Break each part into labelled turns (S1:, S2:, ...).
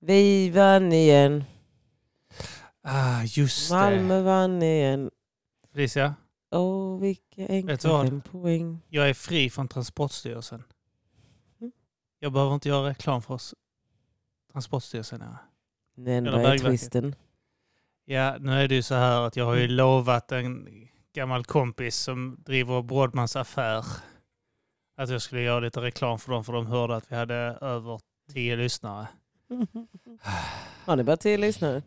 S1: Vi vann igen.
S2: Ah, just det.
S1: Malmö vann igen.
S2: Felicia,
S1: Åh, vilka enkla
S2: Vet du vad?
S1: fem poäng.
S2: jag är fri från Transportstyrelsen.
S1: Mm.
S2: Jag behöver inte göra reklam för oss. Transportstyrelsen. Ja.
S1: Den
S2: Eller
S1: var ju
S2: Bergverket.
S1: twisten.
S2: ja, nu är det ju så här att jag har ju lovat en gammal kompis som driver Brodmans affär att jag skulle göra lite reklam för dem för de hörde att vi hade över tio lyssnare.
S1: Har ni bara tio lyssnare?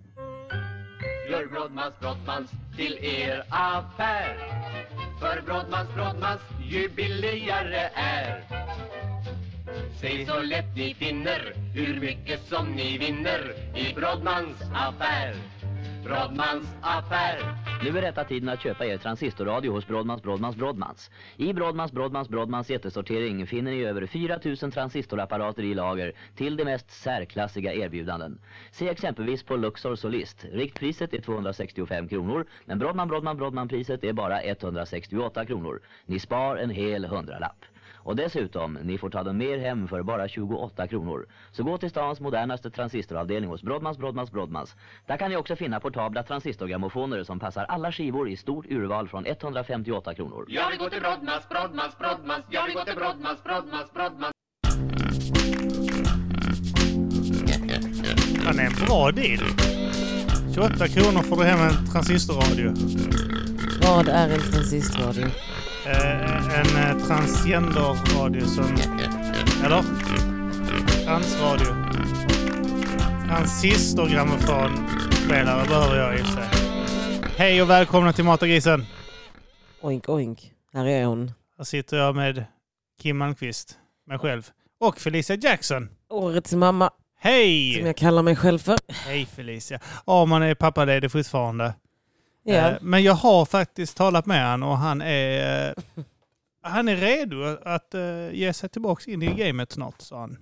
S3: Gör Brodmans Brottmans till er affär För Brodmans Brottmans ju billigare är Säg så lätt ni finner hur mycket som ni vinner i Brodmans affär Brodmans affär
S4: Nu är rätta tiden att köpa er transistorradio hos Brodmans Brodmans Brodmans. I Brodmans Brodmans Brodmans jättesortering finner ni över 4000 transistorapparater i lager till de mest särklassiga erbjudanden. Se exempelvis på Luxor Solist. Riktpriset är 265 kronor, men Brodman Brodman Brodman-priset är bara 168 kronor. Ni spar en hel hundralapp. Och dessutom, ni får ta dem mer hem för bara 28 kronor. Så gå till stans modernaste transistoravdelning hos Brodmans Brodmans Brodmans. Där kan ni också finna portabla transistorgrammofoner som passar alla skivor i stort urval från 158 kronor.
S3: Jag vill gå till Brodmans, Brodmans, Brodmans Jag vill gå till Brodmans, Brodmans, Brodmans
S2: Ja, det är en bra deal. 28 kronor får du hem en transistorradio.
S1: Vad är en transistorradio?
S2: Eh, en eh, transgenderradio som... Eller? Transradio. Transistorgrammofonspelare behöver jag i och för sig. Hej och välkomna till Mata grisen.
S1: Oink oink. Här är hon.
S2: Här sitter jag med Kim Malmqvist, mig själv. Och Felicia Jackson.
S1: Årets mamma, som
S2: Hej!
S1: jag kallar mig själv för.
S2: Hej Felicia. Ja, man är pappaledig fortfarande. Eh,
S1: Ja.
S2: Men jag har faktiskt talat med han och han är, eh, han är redo att eh, ge sig tillbaka in i gamet snart, sa han.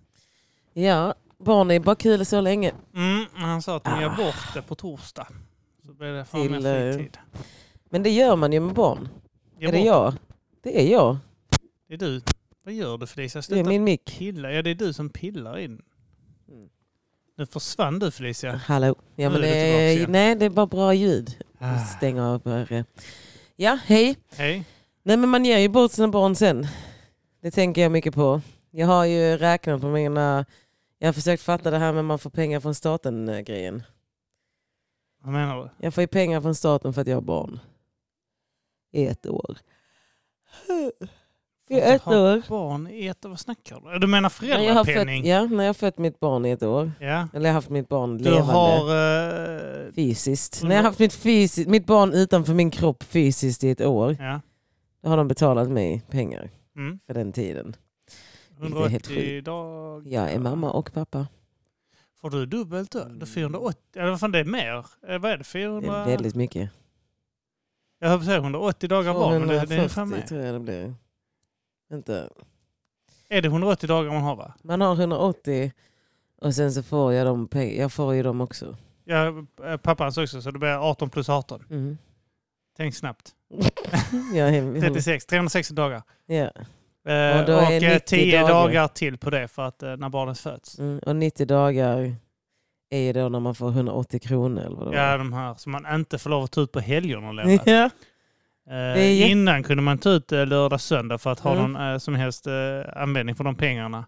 S1: ja, barn är bara kul så länge.
S2: Mm, han sa att de gör bort det på torsdag. Så blir det fan mer
S1: Ah. Till, eh,
S2: fritid.
S1: Men det gör man ju med barn.
S2: Ge
S1: är det
S2: bort-
S1: jag? Det är jag.
S2: Det är du. Vad gör du Felicia?
S1: Det är
S2: Sluta
S1: min mick.
S2: pilla. Ja, det är du som pillar in.
S1: Mm.
S2: Nu försvann du Felicia.
S1: Hallå. Ja,
S2: Nu är
S1: men,
S2: du tillbaka
S1: eh,
S2: igen.
S1: nej, det är bara bra ljud.
S2: Ah.
S1: Jag stänger av. eh. Ja, hej.
S2: Hej.
S1: Nej men man ger ju bort sina barn sen. Det tänker jag mycket på. Jag har ju räknat på mina... Jag har försökt fatta det här med man får pengar från staten-grejen.
S2: Vad menar du?
S1: Jag får ju pengar från staten för att jag har barn. I ett år. I
S2: Att
S1: ett
S2: ha
S1: år.
S2: Barn i ett Vad snackar du? Du menar
S1: När jag har
S2: föräldrapenning?
S1: fött, ja, när jag har fött mitt barn i ett år.
S2: ja.
S1: Eller jag har haft mitt barn
S2: Du
S1: levande.
S2: har... eh,
S1: Fysiskt.
S2: Mm.
S1: När jag har haft mitt, fysi- mitt barn utanför min kropp fysiskt i ett år.
S2: ja.
S1: Då har de betalat mig pengar
S2: Mm.
S1: för den tiden. är helt
S2: 180
S1: sjukt.
S2: dagar.
S1: Jag är mamma och pappa.
S2: Får du dubbelt då? Det är 480? Eller vad fan det är mer? Eh, Vad är det?
S1: Det
S2: 400?
S1: är väldigt mycket.
S2: Jag höll på att säga 180 dagar barn. Men det, det är
S1: 240
S2: fan mer.
S1: tror jag det blir. Inte.
S2: Är det 180 dagar man har va?
S1: Man har 180 och sen så får jag dem, pe- jag får ju dem också.
S2: Ja, eh, pappans också, så det blir 18 plus 18.
S1: Mm.
S2: Tänk snabbt.
S1: Jag är,
S2: 36, 360 dagar.
S1: Mm. ja.
S2: Eh,
S1: Och
S2: och
S1: då är 90
S2: eh, 10
S1: dagar.
S2: dagar. till på det för att eh, när barnet föds.
S1: mm. Och 90 dagar är ju då när man får 180 kronor. Eller vad det
S2: Ja,
S1: var.
S2: de här som man inte får lov att ta ut på helgerna längre.
S1: ja. är
S2: Eh,
S1: jätte-
S2: innan kunde man ta ut eh, lördag, söndag för att ha
S1: Mm.
S2: någon eh, som helst eh, användning för de pengarna.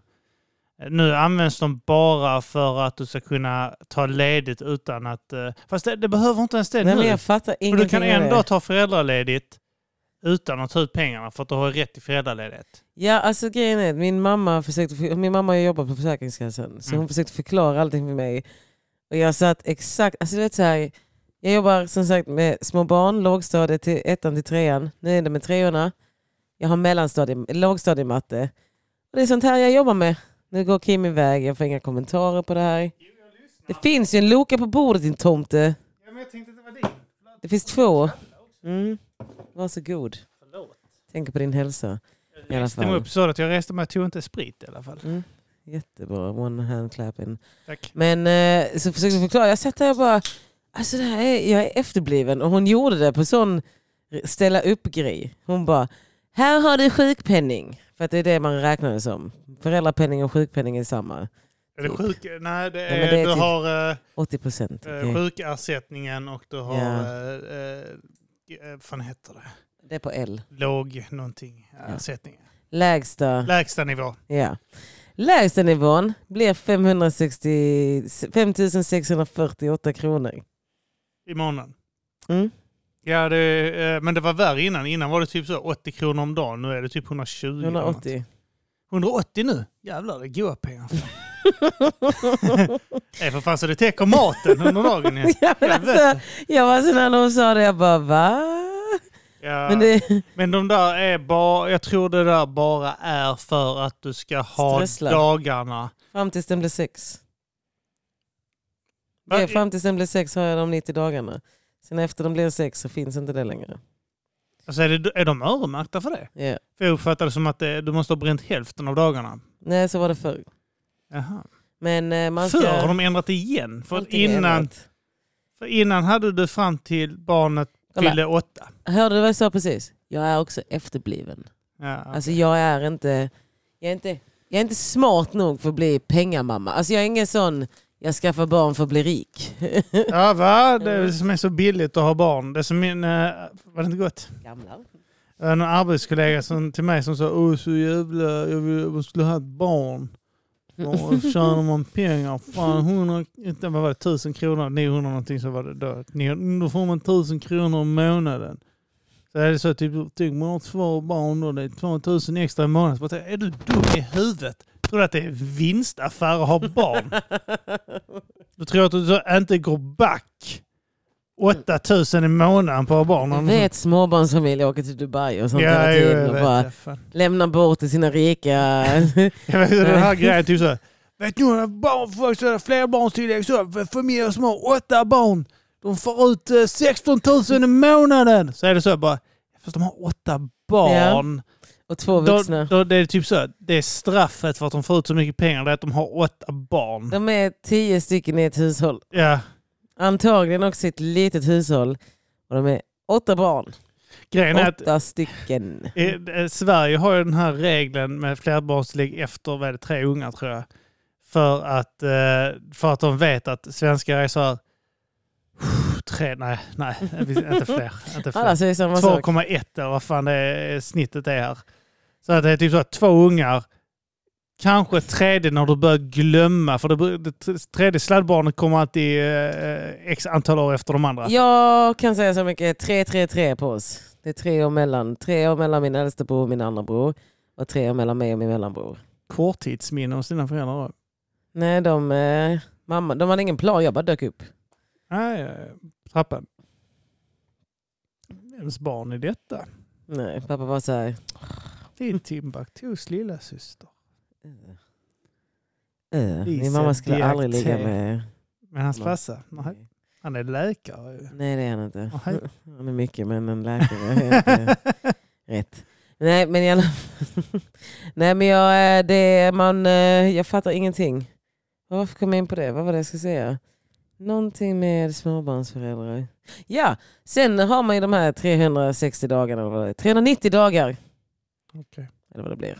S2: Eh, Nu används de bara för att du ska kunna ta ledigt utan att... Eh, fast det, det behöver inte ens det
S1: Nej,
S2: nu.
S1: men jag fattar
S2: För du
S1: ingenting
S2: kan
S1: av
S2: ändå
S1: det.
S2: ta föräldraledigt utan att ta ut pengarna för att du har rätt till föräldraledigt.
S1: Ja, alltså grejen är att min mamma, försökte, min mamma jobbar på Försäkringskassan. Så
S2: Mm.
S1: hon försökte förklara allting för mig. Och jag satt exakt, alltså du vet så här, jag jobbar som sagt med små barn, lågstadiet till ettan till trean. Nu är det med treorna. Jag har mellanstadie, lågstadiematte. Och det är sånt här jag jobbar med. Nu går Kim iväg, jag får inga kommentarer på det här. Det finns ju en Loka på bordet din tomte.
S2: Ja, men jag tänkte att det var din.
S1: Det finns två. Mm. Varsågod.
S2: Förlåt.
S1: Tänker på din hälsa. I alla
S2: Stäm
S1: fall.
S2: upp så att jag reste mig och tog inte sprit i alla fall.
S1: Mm. Jättebra. One hand clapping.
S2: Tack.
S1: Men eh, så försökte jag förklara. Jag satt där och bara, alltså det här är, jag är efterbliven. Och hon gjorde det på sån ställa upp-grej. Hon bara, här har du sjukpenning. För att det är det man räknar det som. Föräldrapenning och sjukpenning är samma.
S2: Är det sjuk? Nej, det
S1: men
S2: är,
S1: det är
S2: du
S1: typ-
S2: har eh,
S1: 80 procent.
S2: eh, sjukersättningen och du har...
S1: Ja.
S2: eh, Eh, vad fan heter det?
S1: Det är på L.
S2: Låg någonting
S1: Ja.
S2: ersättning.
S1: Lägsta,
S2: Lägsta nivå.
S1: ja. Lägsta nivån blir 560, 5648 kronor.
S2: i månaden.
S1: Mm.
S2: Ja, det, eh, men det var värre innan. Innan var det typ så 80 kronor om dagen. Nu är det typ 120. eller något.
S1: 180.
S2: 180 nu? Jävlar, det är goa pengar. Nej, för fan så det täcker maten under dagen. Ja.
S1: ja, men alltså, jag var så när de sa det, jag bara va?
S2: Ja.
S1: Men
S2: Men,
S1: det,
S2: de där är bara, jag tror det där bara är för att du ska ha
S1: Strösslar.
S2: dagarna.
S1: fram tills den blir sex.
S2: Va?
S1: Det, fram tills den blir sex har jag de 90 dagarna. Sen efter de blir sex så finns inte det längre.
S2: Alltså är, det, är de öronmärkta för det?
S1: Ja.
S2: För jag uppfattar det som att det, du måste ha bränt hälften av dagarna.
S1: Nej, så var det förr.
S2: Jaha.
S1: Men eh, man ska...
S2: Förr har de ändrat igen. För att
S1: Allting är
S2: innan,
S1: ändrat.
S2: för innan hade du fram till barnet
S1: Kolla.
S2: fyllde åtta.
S1: Hörde du vad jag sa precis? Jag är också efterbliven.
S2: Ja,
S1: Alltså jag är inte... Jag är inte, jag är inte smart nog för att bli pengamamma. Alltså jag är ingen sån, jag skaffar barn för att bli rik.
S2: Ja, va? Det är som är så billigt att ha barn. Det är som min, eh, var det inte gott?
S1: Gamla.
S2: Jag hade En arbetskollega som, till mig som sa åh så jävla, jag, vill, jag skulle ha ett barn. Och tjänar man pengar, fan 100, inte, vad var det, 1000 kronor, 900 någonting så var det då. Ni- Då får man 1000 kronor i månaden. Så är det så typ, tänk man har två barn då, det är 2000 extra i månaden. Så bara, tänker jag, är du dum i huvudet? Tror du att det är vinstaffär att ha barn? Du tror att du inte går back 8000 i månaden på barn?
S1: Du vet småbarnsfamiljer åker till Dubai och sånt
S2: Ja,
S1: hela
S2: jag, jag,
S1: tiden
S2: jag
S1: och
S2: vet.
S1: bara
S2: ja, fan.
S1: lämnar bort till sina rika.
S2: Jag vet den här grejen, typ så här. Vet ni hur barn får så här flerbarnstillägg? Så här, familjer som har åtta barn, de får ut eh, 16 000 i månaden. Så är det så här, bara, fast de har åtta barn.
S1: och två
S2: Då,
S1: vuxna.
S2: då, det är typ så här, det är straffet för att de får ut så mycket pengar, det är att de har åtta barn.
S1: De är tio stycken i ett hushåll.
S2: Ja.
S1: Antagligen också ett litet hushåll. Och de är åtta barn.
S2: Grejen är att
S1: Åtta stycken.
S2: Eh, eh, Sverige har ju den här regeln med flerbarnstillägg efter vad är det, tre ungar tror jag. För att, eh, för att de vet att svenskar är så här... Tre, nej, nej, inte fler. Inte fler.
S1: Alla säger samma sak.
S2: 2,1 eller vad fan det är, snittet är här. Så att det är typ så att två ungar, kanske ett tredje när du börjar glömma, för det, bör- det tredje sladdbarnet kommer alltid eh, x antal år efter de andra.
S1: Jag kan säga så mycket, 3-3-3 på oss. Det är tre år mellan. Tre år mellan min äldsta bror och min andra bror. Och tre år mellan mig och min mellanbror.
S2: Korttidsminne hos dina föräldrar då?
S1: Nej, de, eh, mamma, de hade ingen plan, jag bara dök upp.
S2: Nej, eh, trappan. Vems barn är detta?
S1: Nej, pappa var så här...
S2: Det är Timbuktus lilla syster.
S1: "Eh, min
S2: Lisa
S1: mamma skulle
S2: Diakité.
S1: aldrig ligga med...
S2: Men hans
S1: Nej.
S2: farsa? Nej, han är läkare. ju.
S1: Nej, det är han inte.
S2: Nej.
S1: Han är mycket, men en läkare är inte rätt. Nej, men jag... Nej, men jag, eh, det, man, eh, jag fattar ingenting. Varför kom jag in på det? Vad var det jag skulle säga? Någonting med småbarnsföräldrar. Ja, sen har man ju de här 360 dagarna. eller vad det är. 390 dagar.
S2: Okej.
S1: Eller vad det blir.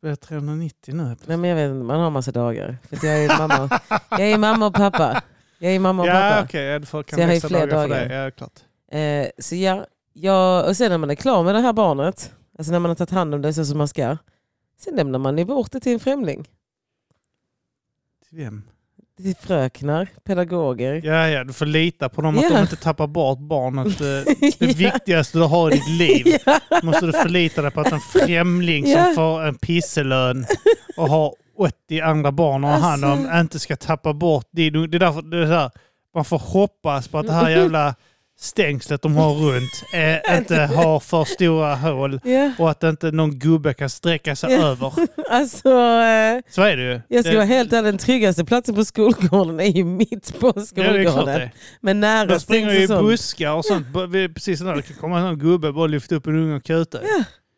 S2: Det är 390 nu.
S1: Nej, men jag vet inte, man har massa dagar. För att jag är ju mamma, jag är ju mamma och pappa. Jag är ju mamma och pappa.
S2: Ja, okej. Ja, du får
S1: Så jag
S2: kan
S1: har ju
S2: växla
S1: fler
S2: dagar för
S1: dagar.
S2: det. Ja, klart.
S1: Eh, så ja, ja, och sen när man är klar med det här barnet, alltså när man har tagit hand om det så som man ska, sen lämnar man ju bort det till en främling.
S2: Till vem?
S1: Till fröknar, pedagoger.
S2: Ja, ja, du får lita på dem att
S1: Ja.
S2: de inte tappar bort barnet. eh, Det
S1: Ja.
S2: viktigaste du har i ditt liv måste du förlita dig på att en främling
S1: Ja.
S2: som får en pisselön och har 80 andra barn att ha hand om
S1: Alltså.
S2: inte ska tappa bort din... Det är därför det är så här, man får hoppas på att det här jävla stängslet de har runt eh, inte har för stora hål
S1: Ja,
S2: och att inte någon gubbe kan sträcka sig
S1: Ja.
S2: över.
S1: alltså eh,
S2: Så är det ju.
S1: jag ska
S2: Det-
S1: vara helt ärlig, den tryggaste platsen på skolgården är ju mitt på
S2: det är ju klart
S1: skolgården.
S2: det.
S1: Men nära
S2: De springer ju i
S1: stängs och sånt.
S2: buskar och sånt. B- vi- Precis när det kan komma en sån gubbe och bara lyfta upp en unge och kuta.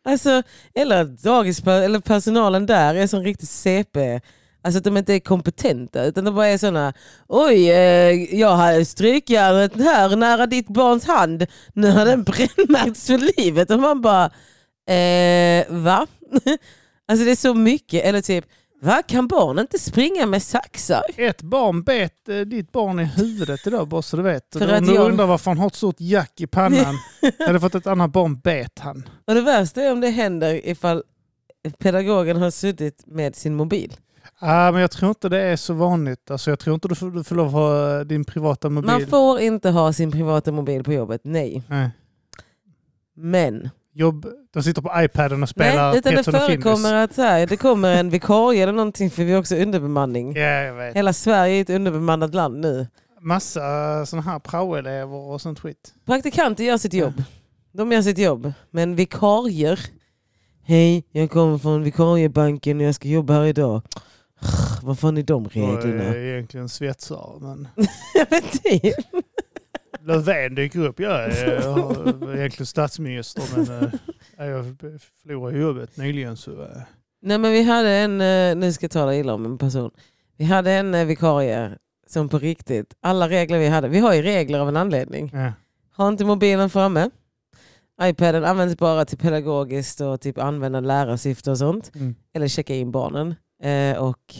S1: Alltså, eller att dagis, eller personalen där är som riktigt CP. Alltså att de inte är kompetenta utan de bara är sådana, oj eh, jag hade strykjärnet här nära ditt barns hand, nu har den brännmärkts för livet. Och man bara, eh, va? alltså det är så mycket. Eller typ, Va, kan barn inte springa med saxar?
S2: Ett barn bet eh, ditt barn i huvudet idag, bara så du vet.
S1: För att
S2: Om du
S1: jag-
S2: undrar varför han har ett stort jack i pannan. Eller för att ett annat barn bet han.
S1: Och det värsta är om det händer ifall pedagogen har suttit med sin mobil.
S2: Ah, men jag tror inte det är så vanligt. Alltså, jag tror inte du får, du får lov att ha eh, din privata mobil.
S1: Man får inte ha sin privata mobil på jobbet, nej.
S2: Nej.
S1: Men
S2: Jobb... De sitter på iPaden och spelar
S1: nej, utan det
S2: Peterson och Findus.
S1: förekommer att så här, det kommer en vikarie eller någonting för vi har också underbemanning.
S2: Ja, jag vet.
S1: Hela Sverige är ett underbemannat land nu.
S2: Massa sådana här praoelever och sånt skit.
S1: Praktikanter gör sitt jobb. De gör sitt jobb. Men vikarier. Hej, jag kommer från vikariebanken och jag ska jobba här idag. Vad fan är de
S2: Och
S1: reglerna?
S2: är egentligen svetsare, men
S1: Ja, men det-
S2: Löfven dyker upp. Jag är jag har egentligen statsminister, men eh, jag förlorade jobbet nyligen. Så, eh,
S1: Nej men vi hade en, eh, nu ska jag tala illa om en person. Vi hade en eh, vikarie som på riktigt, alla regler vi hade, vi har ju regler av en anledning.
S2: ja.
S1: Ha inte mobilen framme. Ipaden används bara till pedagogiskt och typ använda lärarsyfte och sånt.
S2: Mm.
S1: Eller checka in barnen. Eh, och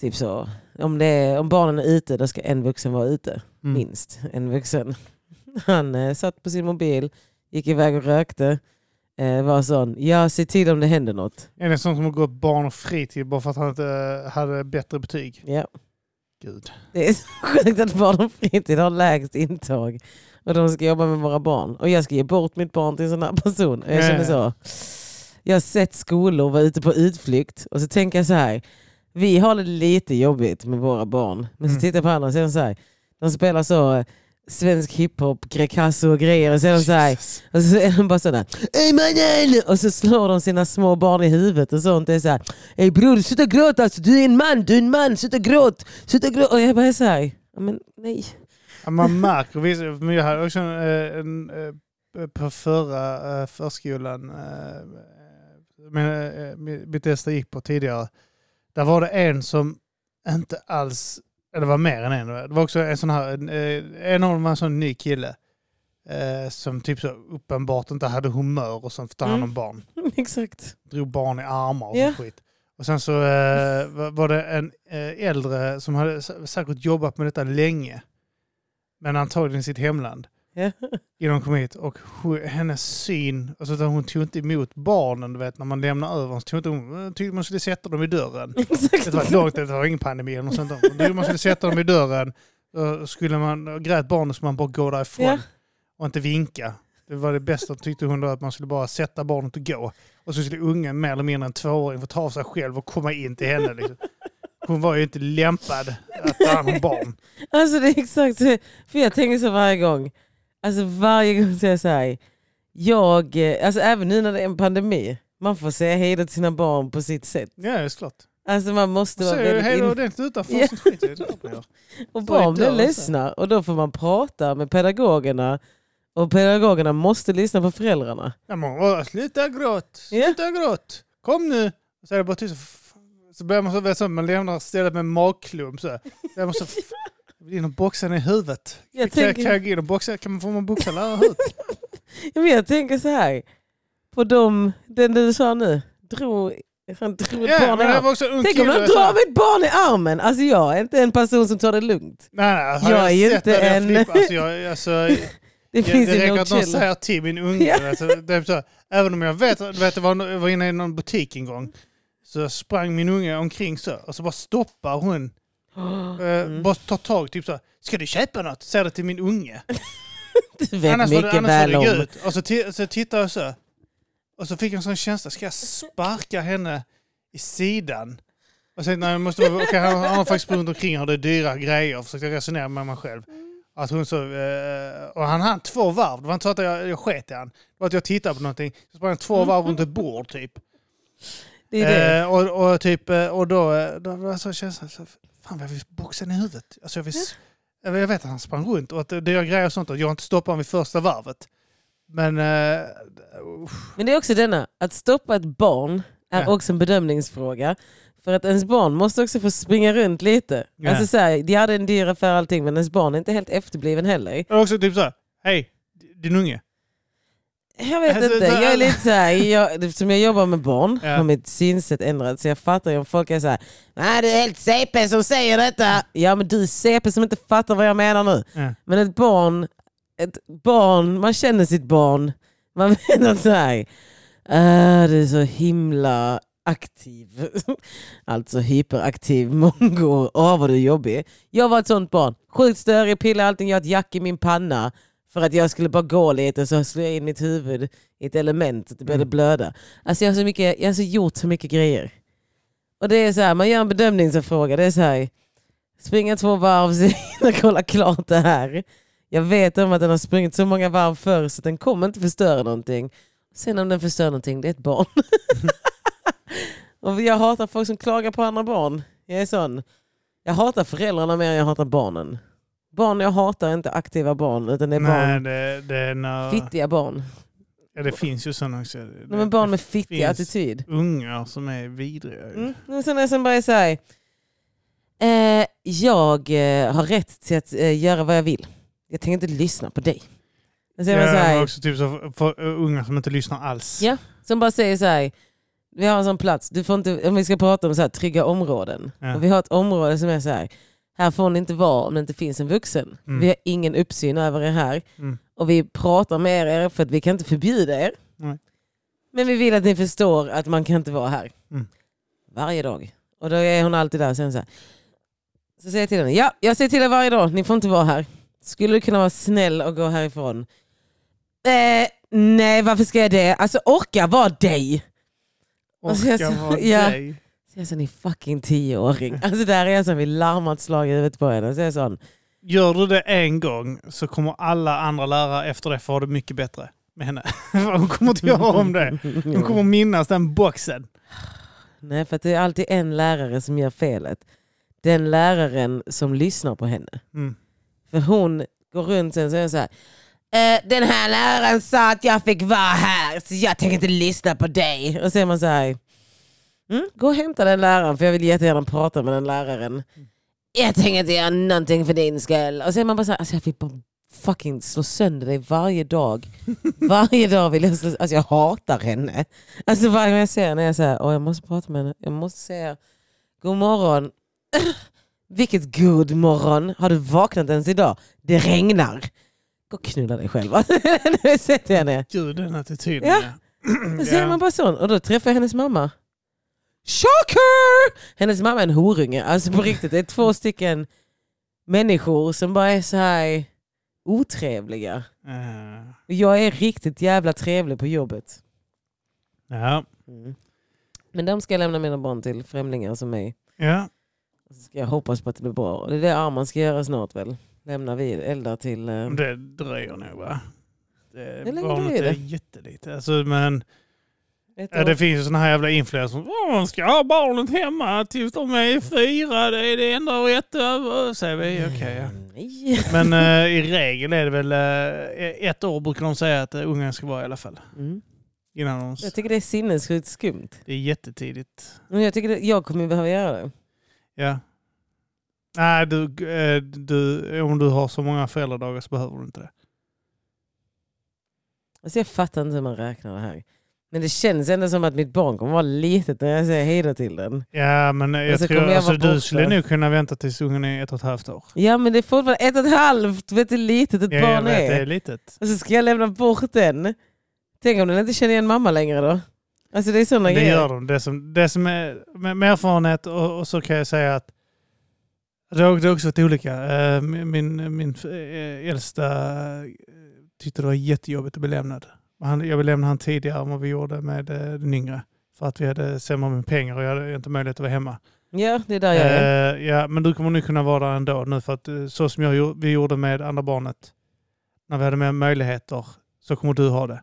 S1: typ så. Om, det är, om barnen är ute då ska en vuxen vara ute.
S2: Mm.
S1: Minst en vuxen. Han eh, satt på sin mobil, gick iväg och rökte. Eh, var sån, ja se till om det händer något.
S2: Är det sån som har gått barn och fritid bara för att han inte eh, hade bättre betyg?
S1: Ja.
S2: Gud.
S1: Det är så sjukt att barn och fritid har lägst intag. Och de ska jobba med våra barn. Och jag ska ge bort mitt barn till en sån här person. Och jag
S2: Ja,
S1: känner
S2: ja.
S1: så. Jag har sett skolor vara ute på utflykt. Och så tänker jag så här. Vi har det lite jobbigt med våra barn. Men så
S2: Mm.
S1: tittar jag på andra och så är de så här. De spelar så eh, svensk hiphop, Grecasso och grejer. Och så är de så här.
S2: Jesus.
S1: Och så är de bara sådär. "Ey, mannen!" Och så slår de sina små barn i huvudet och sånt. Det är såhär. Ey bror, sluta gråta. Alltså, du är en man. Du är en man. Sluta gråt. Sluta gråta. Och jag bara är såhär. "Ja, Men nej.
S2: Ja, Man märker, visst, men jag hade också en, en, eh, på förra eh, förskolan, eh, men, eh, mi- mitt äldsta gick på tidigare, där var det en som inte alls, eller det var mer än en, det var också en sån här, en, eh, en av dem var en sån ny kille eh, som typ så uppenbart inte hade humör och som fick ta hand om
S1: Mm.
S2: barn
S1: Exakt.
S2: drog barn i armar och
S1: Ja.
S2: yeah. skit. Och sen så eh, var- var det en eh, äldre som hade sä- säkert jobbat med detta länge. Men antagligen i sitt hemland.
S1: Ja.
S2: Innan hon kom hit. Och hu- hennes syn, alltså att hon tog inte emot barnen du vet när man lämnar över. Så tog inte hon hon tyckte man skulle sätta dem i dörren.
S1: Exakt.
S2: Det var långt, det var ingen pandemi eller något sånt. där. Hon tyckte man skulle sätta dem i dörren. eh, Skulle man, och grät barnen så man bara gå därifrån
S1: Ja.
S2: och inte vinka. Det var det bästa tyckte hon då, att man skulle bara sätta barnet och gå. Och så skulle ungen mer eller mindre en tvååring få ta av sig själv och komma in till henne. Liksom. Hon var ju inte lämpad att ta hand om barn.
S1: Alltså det är exakt så. För jag tänker så varje gång. Alltså varje gång säger jag så här. Jag, eh, alltså även nu när det är en pandemi. Man får säga hej då till sina barn på sitt sätt.
S2: Ja, det är klart.
S1: Alltså man måste
S2: Så
S1: vara
S2: är det
S1: väldigt
S2: hej
S1: in-
S2: då ordentligt utanför.
S1: Ja.
S2: Yeah. Sånt skit. Det är klart man gör.
S1: Och
S2: Så är
S1: barn blir
S2: dörren så.
S1: ledsna och då får man prata med pedagogerna och pedagogerna måste lyssna på föräldrarna.
S2: Ja, men, åh, sluta gråt,
S1: Ja.
S2: sluta gråt, kom nu. Så är det bara tyst. Så f- Så börjar man så, vet, så man lämnar stället med en magklump så. här. Så är man så f- jag vill in och boxa ner huvudet.
S1: Jag
S2: kan, jag- kan
S1: tänker,
S2: jag gå in och boxa? Kan man få man boxa lärarhuvudet?
S1: men jag tänker så här, på dem, den du sa nu, drog, han drog ett
S2: Ja,
S1: barn i
S2: men det
S1: armen.
S2: var också en ung
S1: Tänk om
S2: kille.
S1: de
S2: så här.
S1: drar mitt barn i armen! Alltså jag är inte en person som tar det lugnt.
S2: Nej, nej, har
S1: Jag
S2: jag
S1: är ju
S2: sett
S1: inte
S2: det där
S1: en-
S2: flipp- Alltså, jag, alltså, jag,
S1: Det finns
S2: det
S1: ju
S2: räcker
S1: no
S2: att någon
S1: chill.
S2: säger till min unge.
S1: Ja.
S2: Alltså, det är så, här, även om jag vet, du vet jag var, jag var inne i någon butik en gång. Så sprang min unge omkring så och så bara stoppar hon. eh,
S1: Mm.
S2: Bara tar tag typ så här, Ska du köpa något? Säger det till min unge.
S1: Du vet
S2: annars
S1: mycket
S2: var det, annars
S1: väl
S2: var
S1: om.
S2: det gud. Och så, ti- så tittar jag så. Och så fick jag en sån känsla. Ska jag sparka henne i sidan? Och sen när jag måste vara... Okej, han han har faktiskt runt omkring och det är dyra grejer. Försökte jag resonera med mig själv. Att hon så, eh, och han hann två varv. Det var inte så att jag, jag sket i han. Det var att jag tittade på någonting. Så sprang han två varv runt ett bord typ.
S1: Det är det.
S2: Eh, och, och, typ, eh, och då, eh, då var jag så känslan, så, fan vad jag vill boxa henne i huvudet. Alltså jag, vill, s- jag vet- jag vet att han sprang runt och att det det gör grejer och sånt och jag har inte stoppat honom vid första varvet. Men eh, uff,
S1: Men det är också denna, att stoppa ett barn är
S2: Ja.
S1: också en bedömningsfråga. För att ens barn måste också få springa runt lite.
S2: Ja.
S1: Alltså så här, de hade en dyr affär och allting men ens barn är inte helt efterbliven heller.
S2: och också typ så här, hej din unge.
S1: Jag vet
S2: Alltså,
S1: inte,
S2: så-
S1: jag är lite så här, jag, eftersom jag jobbar med barn
S2: Ja.
S1: har mitt synsätt ändrats. Så jag fattar ju om folk är så här, nej du är helt CP som säger detta. Ja men du är CP som inte fattar vad jag menar nu.
S2: Ja.
S1: Men ett barn, ett barn, man känner sitt barn. Man menar så här, äh, du är så himla aktiv. Alltså hyperaktiv mongo. Åh vad du är jobbig. Jag var ett sånt barn. Sjukt störig, pillade allting, jag har ett jack i min panna. För att jag skulle bara gå lite så slog jag in mitt huvud i ett element. så Det började blöda. Alltså jag har, så mycket, jag har så gjort så mycket grejer. Och det är så här, man gör en bedömningsfråga. Det är så här, springa två varv så hinner jag kolla klart det här. Jag vet om att den har sprungit så många varv förr så den kommer inte förstöra någonting. Sen om den förstör någonting, det är ett barn. och jag hatar folk som klagar på andra barn. Jag är sån. Jag hatar föräldrarna mer än jag hatar barnen. Barn jag hatar är inte aktiva barn utan det är
S2: Nej,
S1: barn,
S2: det, det, är när,
S1: fittiga barn.
S2: ja, det finns ju sådana också.
S1: Nej, men barn med fittig
S2: finns.
S1: attityd.
S2: Ungar som är vidriga. ju.
S1: Mm. Men sen är jag sen bara så här. Eh, jag eh, har rätt till att eh, göra vad jag vill. Jag tänker inte lyssna på dig. Men sen är man så
S2: Ja, men
S1: här,
S2: också typ så för eh, unga som inte lyssnar alls.
S1: Ja. som bara säger så här. Vi har en sån plats, du får inte, om vi ska prata om så här, trygga områden.
S2: Ja.
S1: Och vi har ett område som är så här. Här får ni inte vara om det inte finns en vuxen.
S2: Mm.
S1: Vi har ingen uppsyn över er här.
S2: Mm.
S1: Och vi pratar med er för att vi kan inte förbjuda er.
S2: Nej.
S1: Men vi vill att ni förstår att man kan inte vara här.
S2: Mm.
S1: Varje dag. Och då är hon alltid där sen så här. Så säger jag till henne, ja jag säger till er varje dag, ni får inte vara här. Skulle du kunna vara snäll och gå härifrån? Eh, nej varför ska jag det? Alltså orka vara dig.
S2: Och
S1: Alltså, jag
S2: jag
S1: så-
S2: var
S1: ja.
S2: dig.
S1: Så jag sa, ni fucking tioåring. Alltså där är jag som vill larma ett slag i huvudet på henne. Så jag sa,
S2: Gör du det en gång så kommer alla andra lärare efter det få ha det mycket bättre med henne. För Hon kommer inte göra om det. Hon kommer minnas den boxen.
S1: Nej, för att det är alltid en lärare som gör felet. Den läraren som lyssnar på henne.
S2: Mm.
S1: För hon går runt sen och säger så här. "Eh, Den här läraren sa att jag fick vara här så jag tänker inte lyssna på dig. Och så är man så här. Mm, gå och hämta den läraren för jag vill jättegärna prata med den läraren. Jag tänker inte göra någonting för din skull. Och så är man bara så här. Alltså jag vill bara fucking slå sönder dig varje dag. Varje dag vill jag slå Alltså jag hatar henne. Alltså varje gång jag ser henne är jag så här. Åh, jag måste prata med henne. Jag måste säga god morgon. Vilket god morgon. Har du vaknat ens idag? Det regnar. Gå och knulla dig själv. Alltså, nu sätter jag ner.
S2: Gud, den attityden.
S1: Ja.
S2: ja.
S1: Då säger man bara sån. Och då träffar jag hennes mamma. Shocker! Hennes mamma är en horunge. Alltså på riktigt. Det är två stycken människor som bara är så här otrevliga.
S2: Eh,
S1: Och jag är riktigt jävla trevlig på jobbet. Mm.
S2: Ja.
S1: Men de ska jag lämna mina barn till främlingar som mig.
S2: ja.
S1: Och Så ska jag hoppas på att det blir bra. Och det är det Arman ska göra snart väl. Lämna vid eldar till... eh,
S2: Det dröjer nog va? Det
S1: Hur länge
S2: barnet
S1: dröjer det?
S2: är jättelite. Alltså, men,
S1: ett
S2: ja,
S1: år.
S2: det finns ju såna här jävla influencers som "Åh, man ska ha barnet hemma tills de är fyra. Det är det enda rätta. Säger vi. Okej, ja.
S1: Mm, Nej.
S2: Men eh, i regel är det väl eh, ett år brukar de säga att uh, ungen ska vara i alla fall.
S1: Mm.
S2: Innan de,
S1: Jag tycker det är sinnessjukt skumt.
S2: det är jättetidigt.
S1: Men jag, tycker det, jag kommer ju behöva göra det.
S2: Ja. Nej, du, eh, du, om du har så många föräldradagar så behöver du inte det.
S1: Alltså jag fattar inte hur man räknar det här. Men det känns ändå som att mitt barn kommer vara litet när jag säger hej då till den.
S2: Ja, men eh, jag
S1: Alltså, kommer
S2: tror
S1: jag
S2: alltså,
S1: vara borta?
S2: du skulle nog kunna vänta tills ungen är ett och ett halvt år.
S1: Ja men det är fortfarande ett och ett halvt. Vet du hur litet ett
S2: Ja, jag
S1: barn
S2: vet, det
S1: är?
S2: är litet.
S1: Och så ska jag lämna bort den. Tänk om den inte känner igen mamma längre då? Alltså det är sådana
S2: Det
S1: grejer.
S2: gör de. Det som, det som är med, med erfarenhet och, och så kan jag säga att det har det har också varit olika. Eh, Min, min, min eh, äldsta eh, tyckte det var jättejobbigt att bli lämnad. Och Han, jag ville lämna han tidigare än vad vi gjorde med eh, den yngre. För att vi hade sämre med pengar och jag hade inte möjlighet att vara hemma.
S1: Ja, det är där jag är.
S2: Eh, ja, men du kommer nu kunna vara där ändå nu för att eh, så som jag, gjo- vi gjorde med andra barnet, när vi hade mer möjligheter, så kommer du ha det.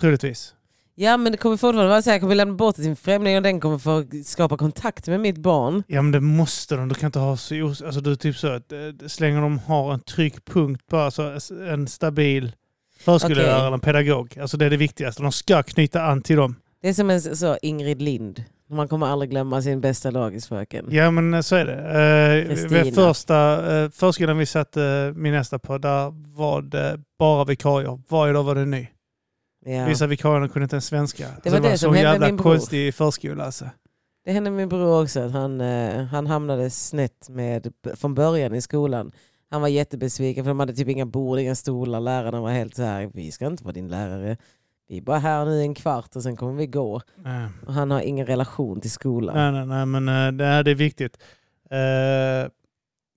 S2: Troligtvis.
S1: Ja men det kommer fortfarande vara så här, jag kommer lämna bort det till en främling och den kommer få skapa kontakt med mitt barn.
S2: Ja men det måste de. Du kan inte ha så... os- Alltså du är typ så att eh, så länge de har en tryckpunkt på, alltså s- en stabil förskollärare
S1: Okej.
S2: eller en pedagog. Alltså det är det viktigaste. De ska knyta an till dem.
S1: Det är som en så Ingrid Lind. Man kommer aldrig glömma sin bästa dagisfröken.
S2: Ja men eh, så är det. Eh,
S1: Kristina.
S2: vid första eh, förskolan vi satte eh, min nästa på, där var det bara vikarier. Varje dag var det en ny.
S1: Ja.
S2: Vissa vikarier kunde inte ens svenska. Alltså, Det
S1: var det
S2: en
S1: som
S2: sån
S1: hände
S2: jävla
S1: min bror.
S2: konstig förskola alltså.
S1: Det hände min bror också, att han, eh, han hamnade snett med, från början i skolan. Han var jättebesviken för de hade typ inga bord, inga stolar. Lärarna var helt så här, vi ska inte vara din lärare. Vi är bara här nu i en kvart och sen kommer vi gå.
S2: Nej.
S1: Och han har ingen relation till skolan.
S2: Nej, nej, nej, men eh, det, här, det är viktigt. Eh,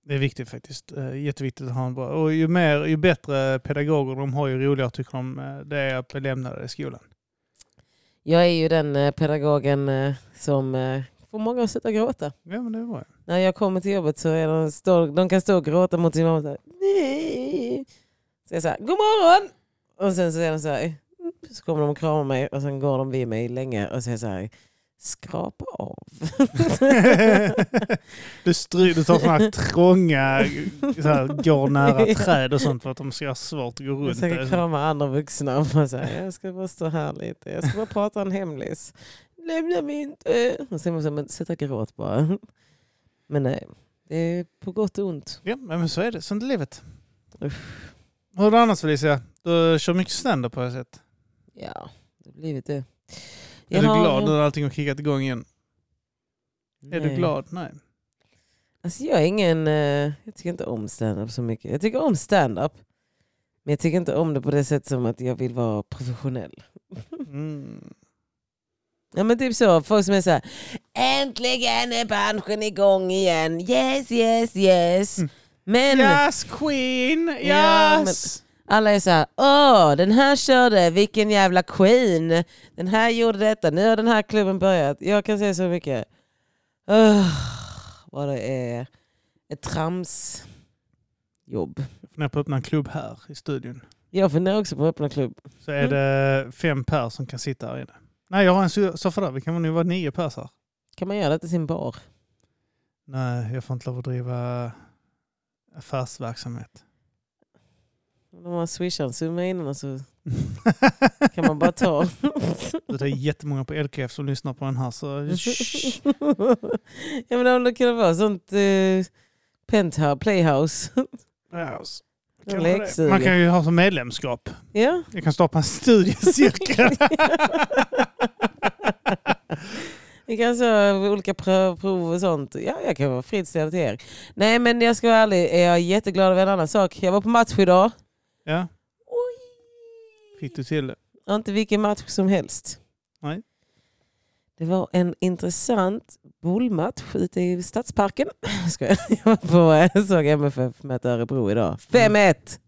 S2: Det är viktigt faktiskt. Eh, Jätteviktigt att ha en bra... Och ju, mer, ju bättre pedagoger de har, ju roligare tycker de eh, det är att bli lämnade i skolan.
S1: Jag är ju den eh, pedagogen eh, som eh, får många att sluta gråta.
S2: Ja, men det är bra.
S1: När jag kommer till jobbet så är de, stå, de kan stå och gråta mot sin mamma. Så, här, "Nej." så jag säger god morgon! Och sen så är de så här, "Mm." så kommer de och kramar mig och sen går de vid mig länge och säger så här, skrapa av.
S2: du, stry, du tar sådana här trånga, så här, går nära träd och sånt för att de ska ha svårt att gå
S1: Jag
S2: runt. Eh,
S1: försöker
S2: det.
S1: krama andra vuxna och bara så här, jag ska bara stå här lite, jag ska bara prata en hemlis. Lämna mig inte! Och sen måste man sätta gråt bara. Men nej, det är på gott och ont.
S2: Ja, men så är det. Sånt är livet.
S1: Uff.
S2: Hur är det annars Felicia? Du kör mycket stand-up har jag sett.
S1: Ja, det har blivit det.
S2: Är du glad nu när allting har kickat igång igen? Är du
S1: Nej.
S2: glad? Nej.
S1: Alltså jag är ingen, eh, jag tycker inte om stand-up så mycket. Jag tycker om stand-up. Men jag tycker inte om det på det sätt som att jag vill vara professionell.
S2: Mm.
S1: Ja men typ så, folk som är så här, äntligen är branschen igång igen, yes yes yes.
S2: Mm.
S1: Men
S2: Yes Queen!
S1: Ja,
S2: Yes!
S1: alla är så här, åh den här körde, vilken jävla queen. Den här gjorde detta, nu har den här klubben börjat. Jag kan säga så mycket. Öh, vad det är ett tramsjobb.
S2: Jag funderar på att öppna en klubb här i studion.
S1: Jag funderar också på att öppna klubb.
S2: Så är det fem pers som kan sitta här inne. Nej, jag har en so- soffa där. Vi kan väl nu vara nio pers här.
S1: Kan man göra det till sin bar?
S2: Nej, jag får inte lov att driva affärsverksamhet.
S1: Om man swishar en summa innan och så kan man bara ta.
S2: Det är jättemånga på LKF som lyssnar på den här så... Shh.
S1: ja, men om det kunde vara sånt eh, penthouse, playhouse.
S2: Yes.
S1: En
S2: Kanske det.
S1: lekstuga.
S2: Man kan ju ha som medlemskap.
S1: Ja.
S2: Jag kan starta en studiecirkel.
S1: Vi kan så olika prö- prov och sånt. Ja, jag kan vara fritt ställd till er. Nej, men jag ska vara ärlig. Är jag jätteglad över en annan sak. Jag var på match idag.
S2: ja,
S1: Oj!
S2: fick du till det?
S1: Och inte vilken match som helst.
S2: Nej.
S1: Det var en intressant bollmatch ute i Stadsparken. Jag skojar. Jag var på, jag såg MFF möta Örebro
S2: Mm.
S1: idag. 5-1!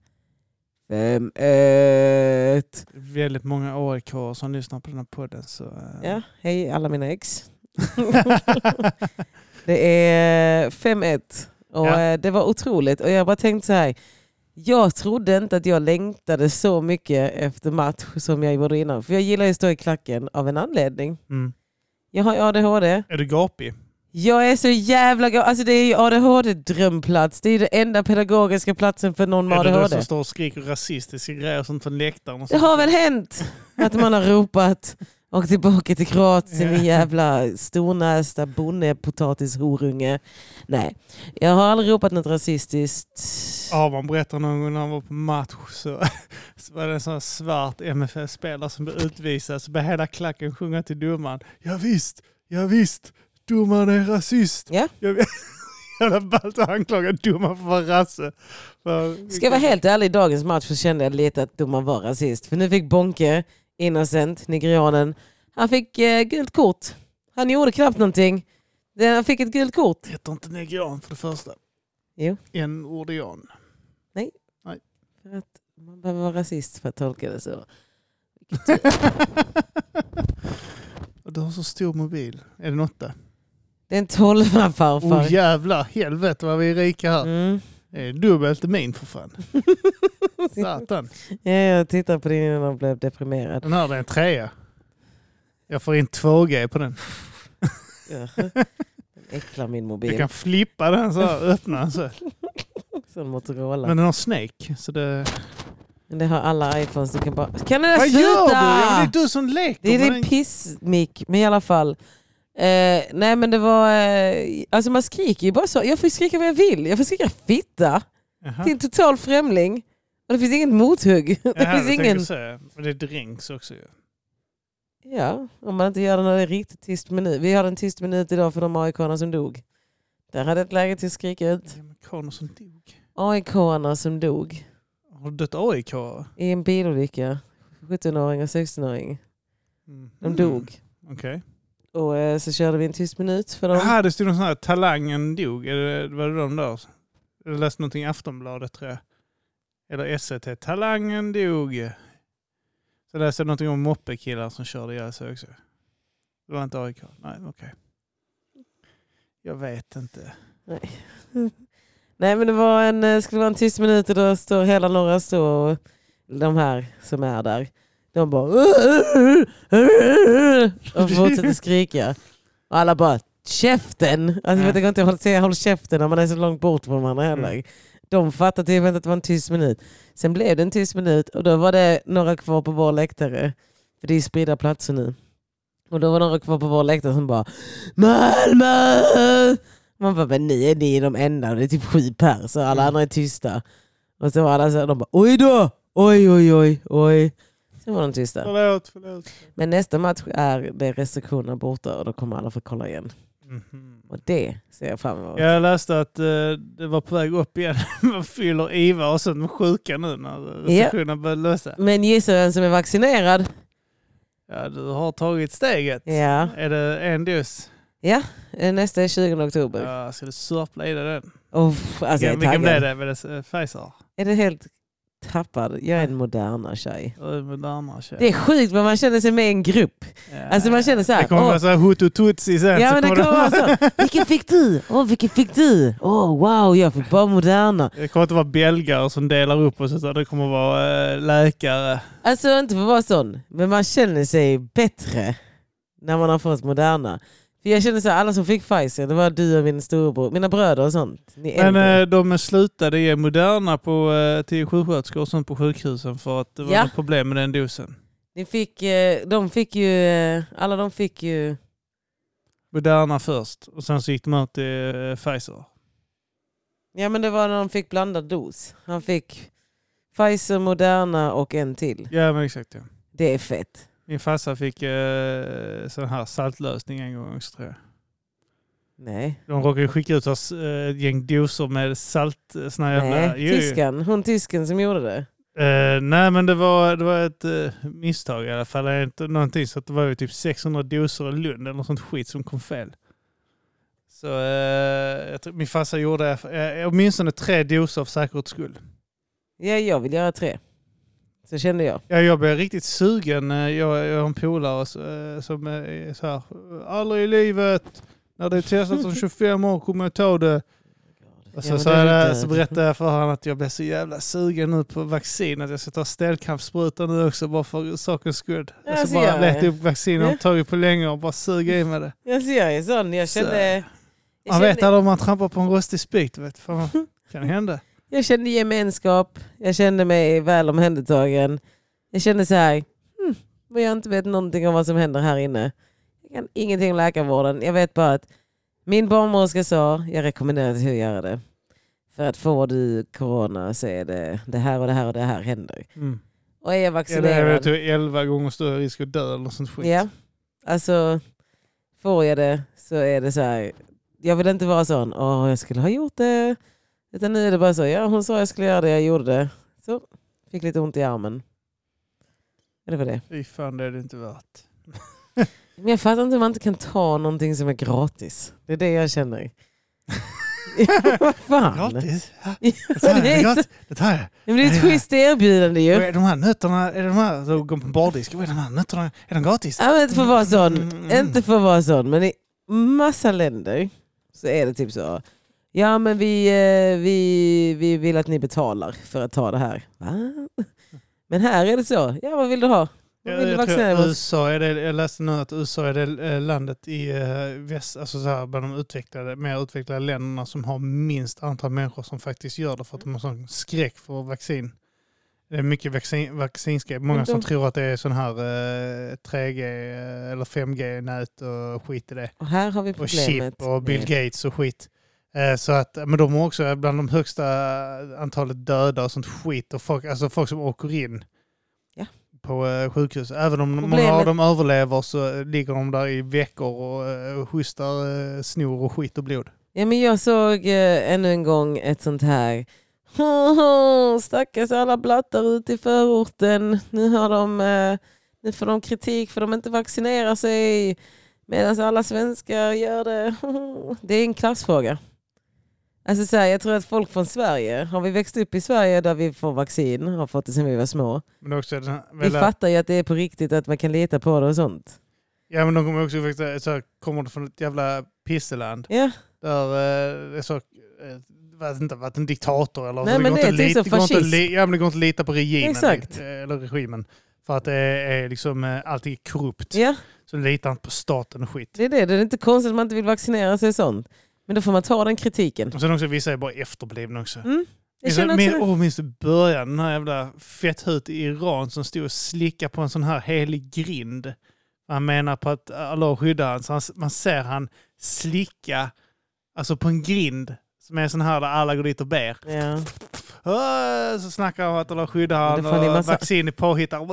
S1: 5-1!
S2: Väldigt många AIK som lyssnar på den här podden så... eh.
S1: Ja, hej alla mina ex. Det är 5-1 och
S2: Ja.
S1: eh, det var otroligt. Och jag bara tänkte så här. Jag trodde inte att jag längtade så mycket efter match som jag gjorde innan. För jag gillar ju att stå i klacken av en anledning.
S2: mm.
S1: Jag har ADHD.
S2: Är du gapig?
S1: Jag är så jävla go- Alltså det är ju ADHD-drömplats. Det är ju den enda pedagogiska platsen för någon med
S2: Är det du som
S1: ADHD.
S2: står och skriker rasistiska grejer och sånt från läktaren? Och
S1: Det
S2: sånt?
S1: har väl hänt att man har ropat och tillbaka till Kroatien din jävla stornästa bonnepotatisorunge. Nej, jag har aldrig ropat något rasistiskt.
S2: Ja, man berättar någon gång när han var på match så, så var det en sån här svart MFF-spelare som blev utvisad så började hela klacken sjunga till domaren. Ja, visst, ja, visst, domaren är rasist.
S1: Ja.
S2: Jag vet- Jävla ballt att anklaga domaren för att vara rasse. För,
S1: Ska jag vara helt ärlig, i dagens match så kände jag lite att domaren var rasist. För nu fick Bonke, Innocent, nigerianen, han fick eh, gult kort. Han gjorde knappt någonting. Det- Han fick ett gult kort.
S2: Heter inte negrian för det första.
S1: Jo.
S2: En ordian.
S1: För att man behöver vara rasist för att tolka det så.
S2: Och du har så stor mobil. Är det något där?
S1: Det är en tolva
S2: Åh
S1: farfar.
S2: jävlar, helvete vad vi är rika här.
S1: Mm.
S2: Det är dubbelt min för fan. Satan.
S1: Ja, jag tittar på din innan jag blev deprimerad.
S2: Den här det är en trea. Jag får in 2G på den.
S1: Ja. Den äcklar min
S2: Jag
S1: mobil.
S2: Mm. kan flippa den så här, öppna den så. här.
S1: Sån Motorola.
S2: Men
S1: Men,
S2: den har Snake. Så det...
S1: det har alla iPhones. Du kan bara... Kan det där
S2: Vad
S1: sluta?
S2: gör du? Ja, men det är du som leker.
S1: Det är
S2: med
S1: din pissmick, men i alla fall. Eh, nej men det var, eh, alltså man skriker ju bara så. Jag får skrika vad jag vill. Jag får skrika fitta
S2: Jaha.
S1: till en total främling. Och det finns inget mothugg. Det
S2: Jaha,
S1: finns
S2: tänker
S1: ingen...
S2: jag säga. Men det är drinks också ju.
S1: Ja, om man inte gör den när det är riktigt tyst minut. Vi har en tyst minut idag för de AIK-arna som dog. Där hade jag ett läge till att skrika ut.
S2: Amerikaner som dog.
S1: AIK-arna som dog
S2: Har det dött AIK?
S1: i en bilolycka. 17-åring och 16-åring.
S2: Mm.
S1: De dog.
S2: Okej.
S1: Och eh, så körde vi en tyst minut för dem.
S2: Jaha, det stod någon sån här talangen dog. Är det, var det de där? Jag läste någonting i Aftonbladet tror jag. Eller SVT. Talangen dog. Så läste jag någonting om moppekillar som körde ihjäl sig också. Det var inte AIK? Nej, okej. Jag vet inte.
S1: Nej men det var en, eh, skulle vara en tyst minut och då står hela norra Öster och de här som är där. De bara och fortsätter skrika. Och alla bara käften! Alltså, jag vet inte om jag säga håll käften när man är så långt bort från varandra heller. De fattade typ inte att det var en tyst minut. Sen blev det en tyst minut och då var det några kvar på vår läktare. För det är spridda platser nu. Och då var några kvar på vår läktare som bara Malmö! Man bara, men ni är ni är de enda och det är typ sju pers så alla andra är tysta. Och så var alla så här, de bara oj då! Oj oj oj oj. Sen var de tysta.
S2: Förlåt, förlåt.
S1: Men nästa match är det restriktioner borta och då kommer alla få kolla igen.
S2: Mhm.
S1: Och det ser jag fram emot.
S2: Jag läste att eh, det var på väg upp igen. Man fyller IVA och sen är de sjuka nu när restriktionerna börjar lösa.
S1: Men gissa vem som är vaccinerad?
S2: Ja, du har tagit steget.
S1: Ja, eh,
S2: Är det en dos?
S1: nästa är 20 oktober.
S2: Ja, ska du sörpla i dig den?
S1: Uff, alltså jag är
S2: vilken, vilken blev
S1: taggad.
S2: det? Blev det eh, Pfizer?
S1: Är det helt tappad? Jag är en moderna tjej.
S2: Eller Moderna tjej?
S1: Det är sjukt men man känner sig med i en grupp.
S2: Ja.
S1: Alltså man känner så här,
S2: Det kommer
S1: åh.
S2: vara så här hutu tutsi sen.
S1: Ja
S2: så
S1: men det kommer vara så. Vilken fick du? Åh vilken fick du? Åh wow jag fick bara moderna.
S2: det kommer inte vara belgare som delar upp oss utan det kommer vara eh, läkare.
S1: Alltså inte för att vara sån, men man känner sig bättre när man har fått Moderna. För jag känner så här, alla som fick Pfizer, det var du och min storebror, mina bröder och sånt. Ni är
S2: Men
S1: äldre.
S2: eh, de slutade ge Moderna på, eh, till sjuksköterskor och sånt på sjukhusen för att det var
S1: Ja.
S2: något problem med den dosen.
S1: Ni fick, eh, de fick ju, eh, alla de fick ju,
S2: Moderna först och sen så gick de ut till eh, Pfizer.
S1: ja men det var när de fick blandad dos. Han fick Pfizer, Moderna och en till.
S2: Ja men exakt ja.
S1: Det är fett.
S2: Min farsa fick eh, sån här saltlösning en gång också tror jag.
S1: Nej,
S2: De råkade skicka ut oss eh, ett gäng doser med salt. eh, Såna jävla,
S1: Nej.
S2: Jo, jo.
S1: tyskan, hon tysken som gjorde det.
S2: Eh, nej men det var, det var ett eh, misstag i alla fall. Det är inte någonting, så att det var ju typ 600 doser i Lund eller något sånt skit som kom fel. Så eh, jag tror, min farsa gjorde eh, åtminstone tre doser för säkerhets skull.
S1: Ja jag vill göra tre. Så kände jag.
S2: Ja, jag blev riktigt sugen. Eh, Jag, jag har en polare så- eh, som är så här, aldrig i livet, när det är testat som 25 år kommer jag ta det. Och
S1: Ja,
S2: så,
S1: men
S2: så,
S1: det är
S2: jag, alltså,
S1: lite-
S2: så berättade jag för honom att jag blev så jävla sugen nu på vaccin, att jag ska ta stelkrampsspruta nu också bara för sakens skull.
S1: Ja,
S2: jag
S1: så
S2: ska bara
S1: gör jag.
S2: leta upp vaccin jag
S1: Ja.
S2: har inte tagit på länge och bara suga i mig det.
S1: Alltså jag är sån, jag
S2: Så.
S1: kände... Jag
S2: Man
S1: kände,
S2: vet aldrig om man trampar på en rostig spik, du vet. Fan, vad kan hända?
S1: jag kände gemenskap, jag kände mig väl omhändertagen. Jag kände så här, hmm, men jag inte vet någonting om vad som händer här inne. Jag kan ingenting om läkarvården. Jag vet bara att min barnmorska sa, jag rekommenderar till att göra det. För att får du corona så är det det här och det här och det här händer.
S2: Mm.
S1: Och är jag
S2: Ja, det är väl
S1: vaccinerad,
S2: typ 11 gånger större risk att dö eller något sånt skit.
S1: ja, alltså får jag det så är det så här. Jag vill inte vara sån, åh jag skulle ha gjort det. Utan nu är det bara så, ja hon sa jag skulle göra det, jag gjorde det. Så, fick lite ont i armen. Ja, Det var det.
S2: Fy fan, det är det inte värt.
S1: Men jag fattar inte hur man inte kan ta någonting som är gratis. Det är det jag känner. Vad fan?
S2: Gratis? Ja,
S1: Ja,
S2: det tar
S1: det
S2: jag.
S1: är
S2: Gratis. Det tar jag.
S1: Men det är ett schysst erbjudande
S2: Och
S1: ju.
S2: är de här nötterna, är de här, så går man på bardisk, vad är de här nötterna, är de gratis?
S1: Ja, men inte för att vara sån.
S2: Mm.
S1: Inte för att vara sån, men i massa länder så är det typ så. Ja men vi, eh, vi, vi vill att ni betalar för att ta det här. Va? Men här är det så. Ja vad vill du ha? Vad
S2: Jag,
S1: vill du
S2: jag,
S1: vaccinera
S2: tror
S1: mot?
S2: USA är det, jag läste nu att USA är det eh, landet i eh, väst, alltså så här, bland de utvecklade, mer utvecklade länderna som har minst antal människor som faktiskt gör det för att de har sån skräck för vaccin. Det är mycket vaccin, vaccinskräck. Många
S1: Men de-
S2: som tror att det är sån här eh, 3G eh, eller 5G-nät och skit i det.
S1: Och här har vi
S2: Och
S1: problemet.
S2: chip och Bill
S1: med-
S2: Gates och skit. Eh, Så att, men de har också bland de högsta eh, antalet döda och sånt skit. Och folk, alltså folk som åker in
S1: Ja.
S2: på eh, sjukhus. Även om många av
S1: Problemet-
S2: dem överlever så eh, ligger de där i veckor och eh, hostar eh, snor och skit och blod.
S1: Ja, men jag såg eh, ännu en gång ett sånt här. Stackars alla blattar ute i förorten. Nu, har de, eh, nu får de kritik för de inte vaccinerar sig. Medan alla svenskar gör det. Det är en klassfråga. Alltså så här, jag tror att folk från Sverige, har vi växt upp i Sverige där vi får vaccin, har fått det sedan vi var små.
S2: Men också den här,
S1: Vi
S2: väl,
S1: fattar ju att det är på riktigt, att man kan lita på det och sånt.
S2: ja, men de kommer också faktiskt- eh, så här, kommer det från ett jävla pisseland.
S1: Ja,
S2: Där eh, det är så, eh, vet inte, varit en diktator eller
S1: Nej,
S2: så.
S1: men
S2: går
S1: det är
S2: inte
S1: typ
S2: att lita-
S1: så
S2: går inte att
S1: fascism.
S2: li- ja, men det går inte att lita på regimen.
S1: Exakt.
S2: eh, Eller regimen. För att det är liksom eh, allting är korrupt.
S1: ja,
S2: Så litar han på staten och skit.
S1: det är det. Det är inte konstigt att man inte vill vaccinera sig och sånt. Men då får man ta den kritiken.
S2: Och sen också vissa är bara efterblivna också.
S1: Mm. Jag
S2: Minns du-
S1: känner
S2: min,
S1: också,
S2: oh, minns du början? Den här jävla fetthut i Iran som stod och slickade på en sån här helig grind. Han menar på att Allah skyddar han. Så han, man ser han slicka alltså på en grind som är en sån här där alla går dit och ber.
S1: ja.
S2: Åh, Så snackar han om att Allah skyddar
S1: Men det
S2: han
S1: får ni
S2: och
S1: massa-
S2: vaccin är påhittat.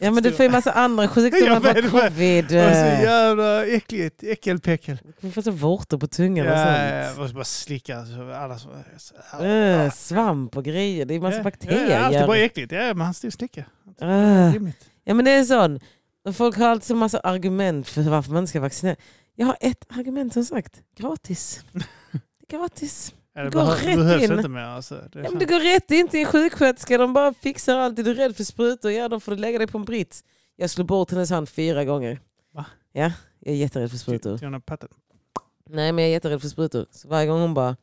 S1: ja men du får ju massa andra sjukdomar,
S2: Jag
S1: bara
S2: vet, men-
S1: covid.
S2: Det var så
S1: eh,
S2: jävla äckligt. Äckelpäckel.
S1: Vi får så vårtor på tungan och
S2: Ja,
S1: sånt.
S2: och så bara slicka. så Alla som... så-
S1: Eh, svamp och grejer, det är massa
S2: Ja, Ja,
S1: bakterier.
S2: allt är bara äckligt. Ja, men han står och slickar.
S1: Eh,
S2: Rimligt.
S1: Ja men det är en sån. Och Folk har alltid så massa argument för varför man inte ska vaccinera. Jag har ett argument som sagt, gratis. Det är gratis.
S2: Ja, det
S1: Går
S2: behö-
S1: rätt
S2: behövs
S1: in.
S2: inte mer. Alltså. Det är
S1: Ja, men
S2: sant.
S1: du går rätt in till en sjuksköterska, de bara fixar allt. Är du rädd för sprutor, ja då får du lägga dig på en brits. Jag slog bort hennes hand fyra gånger.
S2: Va?
S1: Ja, jag är jätterädd för
S2: Till-
S1: sprutor.
S2: till den här patten.
S1: Nej men jag är jätterädd för sprutor. Så varje gång hon bara...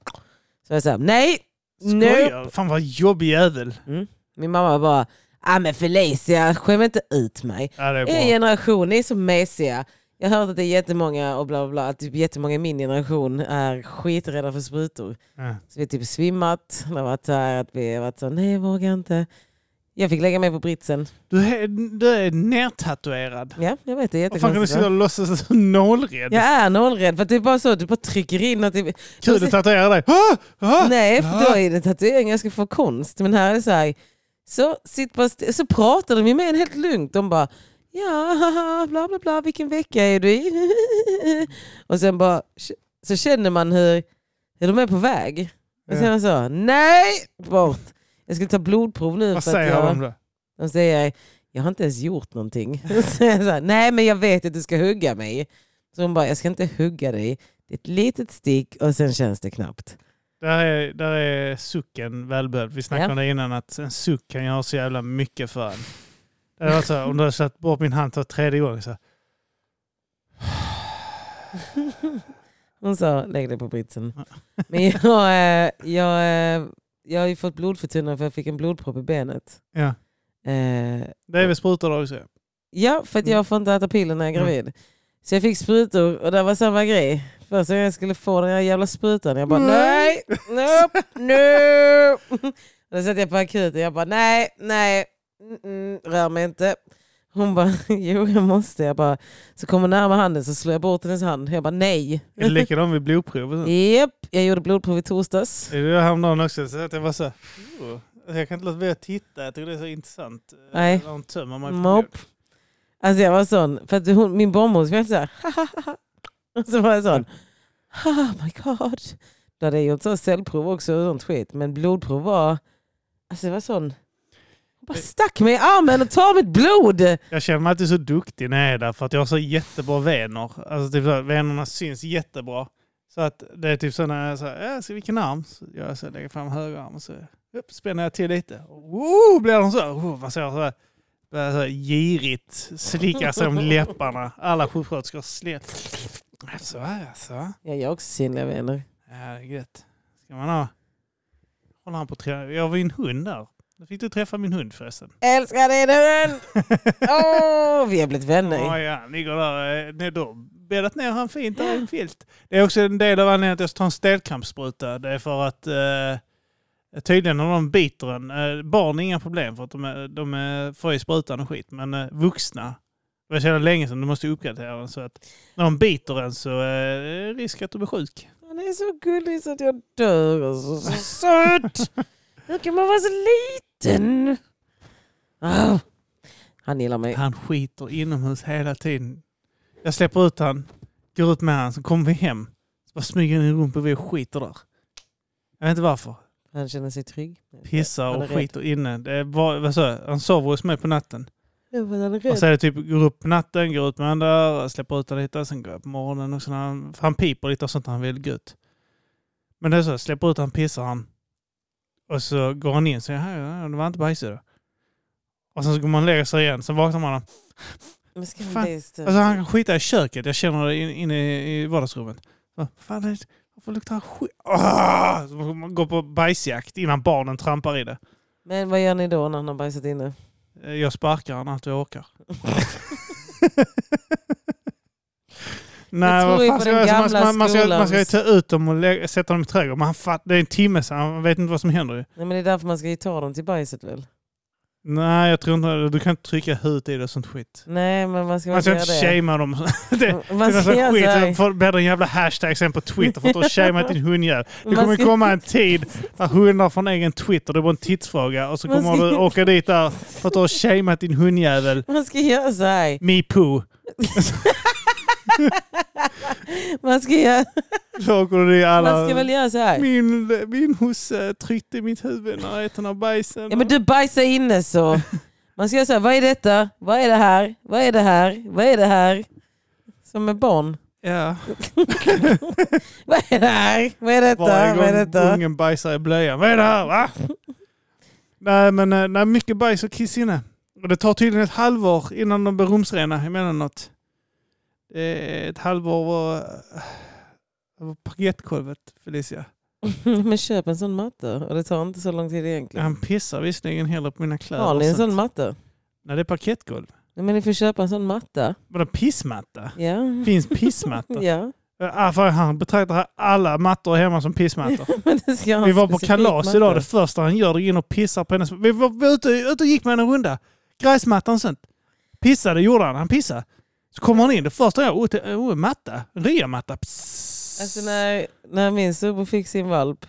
S1: Så jag säger nej!
S2: Skojar?
S1: Nope.
S2: Fan vad jobbig jävel.
S1: Min mamma bara, ah men Felicia skäm inte ut mig.
S2: Ja, det är
S1: Er
S2: bra.
S1: generation, ni är så mesiga. Jag har hört att det är jättemånga och bla bla bla, att typ jättemånga i min generation är skiträdda för sprutor.
S2: Ja.
S1: Så vi har typ svimmat, det har varit så här att vi har varit så, nej jag vågar inte. Jag fick lägga mig på britsen.
S2: Du är, du är nertatuerad.
S1: Ja, jag vet det är
S2: Vad fan kan du
S1: jättekonstigt.
S2: sitta
S1: va?
S2: och låtsas att du är nollrädd?
S1: Jag är nollrädd för att det är bara så, du bara trycker in typ- att det...
S2: Kul att tatuera dig. Ah! Ah!
S1: Nej, för då
S2: Ah!
S1: är det tatuering. Jag ska få konst. Men här är det så här. Så, sitt bara st- så pratar de ju med en helt lugnt. De bara ja, haha, bla bla bla, vilken vecka är du i? Och sen bara, så känner man hur, hur de är på väg. Och sen så, nej, bort. Jag skulle ta blodprov nu.
S2: Vad
S1: för att
S2: säger
S1: jag,
S2: de då?
S1: de säger, jag har inte ens gjort någonting. Så jag sa, Nej men jag vet att du ska hugga mig. Så hon bara, jag ska inte hugga dig. Det är ett litet stick och sen känns det knappt.
S2: Där är, där är sucken välbehövd. Vi snackade
S1: Ja.
S2: om det innan att en suck kan göra så jävla mycket för en. Det var så här, om du hade satt bort min hand för tredje gången så här,
S1: Hon sa lägg dig på britsen. Men jag, eh, jag, eh, jag har ju fått blodförtunnande för jag fick en blodpropp i benet.
S2: Ja.
S1: Eh,
S2: Det är väl sprutor då också?
S1: ja, för att jag får inte äta piller när jag är
S2: Mm.
S1: gravid. Så jag fick sprutor och det var samma grej. Första gången jag skulle få den här jävla sprutan, jag bara nej, nope, nope. Då satt jag på akuten, jag bara nej, nej, mm, mm, rör mig inte. Hon bara, jo jag måste. Jag bara, så kom hon närmare handen så slår jag bort hennes hand. Jag bara nej.
S2: Är det likadant vid blodprov? och sånt?
S1: Japp, jag gjorde blodprov i torsdags.
S2: Det var häromdagen också. Så att jag var så här, "Oh." jag kan inte låta bli att titta. Jag tycker det är så intressant.
S1: Nej.
S2: Eh, De tömmer mig på blod.
S1: Nope. Alltså jag var sån, för att hon, min barnmorska var så här, och så var jag sån, oh my god. Då hade jag gjort så cellprov också och sånt skit, men blodprov var, alltså det var sån, hon bara stack mig i armen och tar mitt blod.
S2: Jag känner mig alltid så duktig när jag är där för att jag har så jättebra vener. Alltså typ så här, venerna syns jättebra. Så att det är typ så när jag säger, äh, så vilken arm? Så gör jag så, lägger fram höger arm och så upp, spänner jag till lite. Och, Woo, blir de så här, oh, man ser så här, börjar så här girigt slicka sig om läpparna. Alla sjuksköterskor slet. Så här, så här.
S1: Ja, jag har också synliga vänner.
S2: Ja, det är gött. Ska man ha? Håller han på att trä- Jag var ju en hund där. Då fick du träffa min hund förresten.
S1: Älskar dig den! Åh, vi har blivit vänner.
S2: Ja, ja, han ligger där. eh, Nej, då bäddat ner han fint där i en filt. Det är också en del av anledningen att jag tar en stelkrampsspruta. Det är för att eh, tydligen när de biter en, eh, barn är inga problem för att de, är, de är, får i sprutan och skit, men eh, vuxna det var så jävla länge sedan, du måste uppgradera den så att när de biter en så eh, är det risk att du blir sjuk.
S1: Han är så gullig så att jag dör. Och så, så söt! Hur kan man vara så liten? Ah, han gillar mig.
S2: Han skiter inomhus hela tiden. Jag släpper ut han, går ut med han, så kommer vi hem. Så bara smyger han in i rummet och vi skiter där. Jag vet inte varför.
S1: Han känner sig trygg.
S2: Pissar
S1: Han är
S2: och
S1: rädd.
S2: skiter inne. Det var, vad sa jag? Han sover hos mig på natten.
S1: Ja, men han är
S2: Och så
S1: rädd.
S2: är det typ, går upp på natten, går ut med han där, släpper ut honom lite, sen går jag på morgonen och sen han, för han piper lite och sånt när han vill gå ut. Men det är så, jag släpper ut han, pissar han. Och så går han in och säger hej, det var inte bajsig då. Och sen så går man och lägger sig igen, sen vaknar man
S1: Men ska
S2: Fan.
S1: han bli större?
S2: Alltså han kan skita i köket, jag känner det in- inne i vardagsrummet. Vad fan är det? Varför luktar det skit? Ah! Så man går på bajsjakt innan barnen trampar i det.
S1: Men vad gör ni då när han har bajsat inne?
S2: Eh, Jag sparkar honom allt jag orkar. Nej,
S1: Jag tror ju
S2: vad fan
S1: på
S2: ska
S1: den
S2: jag- alltså, man,
S1: gamla
S2: man, man, ska, man ska ju ta
S1: skolans-
S2: ut dem och lä- sätta dem i trädgården. Men han fatt, det är en timme sedan, han vet inte vad som händer ju.
S1: Nej, men det är därför man ska ju ta dem till bajset väl?
S2: Nej, jag tror inte Du kan inte trycka huvudet i det och sånt skit.
S1: Nej, men man ska
S2: Man
S1: väl
S2: ska
S1: göra
S2: Alltså, inte
S1: det.
S2: shamea dem. det,
S1: Man
S2: det är
S1: ska
S2: sån
S1: göra
S2: skit.
S1: så här.
S2: Jag får- bäddar en jävla hashtag sen på Twitter för att du har shameat din hundjävel. Det
S1: Man
S2: kommer
S1: ska-
S2: komma en tid där hundar får en egen Twitter. Det är bara en tidsfråga. Och så
S1: Man
S2: kommer
S1: ska-
S2: du åka dit där för att du har shameat din hundjävel.
S1: Man ska göra så här.
S2: Me poo.
S1: Man ska, göra,
S2: Så åker du dit alla...
S1: man ska väl göra så här.
S2: Min, min hosse tryckte i mitt huvud när jag åt den här bajsen.
S1: Ja men du bajsar inne så. Man ska göra så här, vad är detta? Vad är det här? Vad är det här? Vad är det här? Som med barn.
S2: Ja.
S1: Vad är det här? Vad är detta?
S2: Varje
S1: Vad är
S2: gång
S1: detta?
S2: ungen bajsar i blöjan. Vad är det här? Va? nej, men eh, nej, mycket bajs och kiss inne. Och det tar tydligen ett halvår innan de blir rumsrena emellanåt. Det är Ett halvår eh, över parkettkolvet, Felicia.
S1: Men köp en sån matta. Och det tar inte så lång tid egentligen.
S2: Han pissar visserligen hellre på mina kläder.
S1: Har ni en
S2: och sånt.
S1: sån matta?
S2: Nej, det är parkettgolv.
S1: Nej, men ni får köpa en sån matta.
S2: Vadå pissmatta?
S1: Ja.
S2: Finns pissmatta?
S1: Ja,
S2: ja. för han betraktar alla mattor hemma som pissmattor.
S1: men det ska ha
S2: Vi
S1: en
S2: var på
S1: specifik
S2: kalas
S1: matta.
S2: idag. Det första han gör är att gå in och pissar på hennes... Vi var vi var ute, ute och gick med en runda. Gräsmattan och sånt. Pissade gjorde han. Han pissade. Så kommer han in. Det första jag... Oh, det- oh, en matta. En Ryamatta. Psst.
S1: Alltså när, när min subbo fick sin valp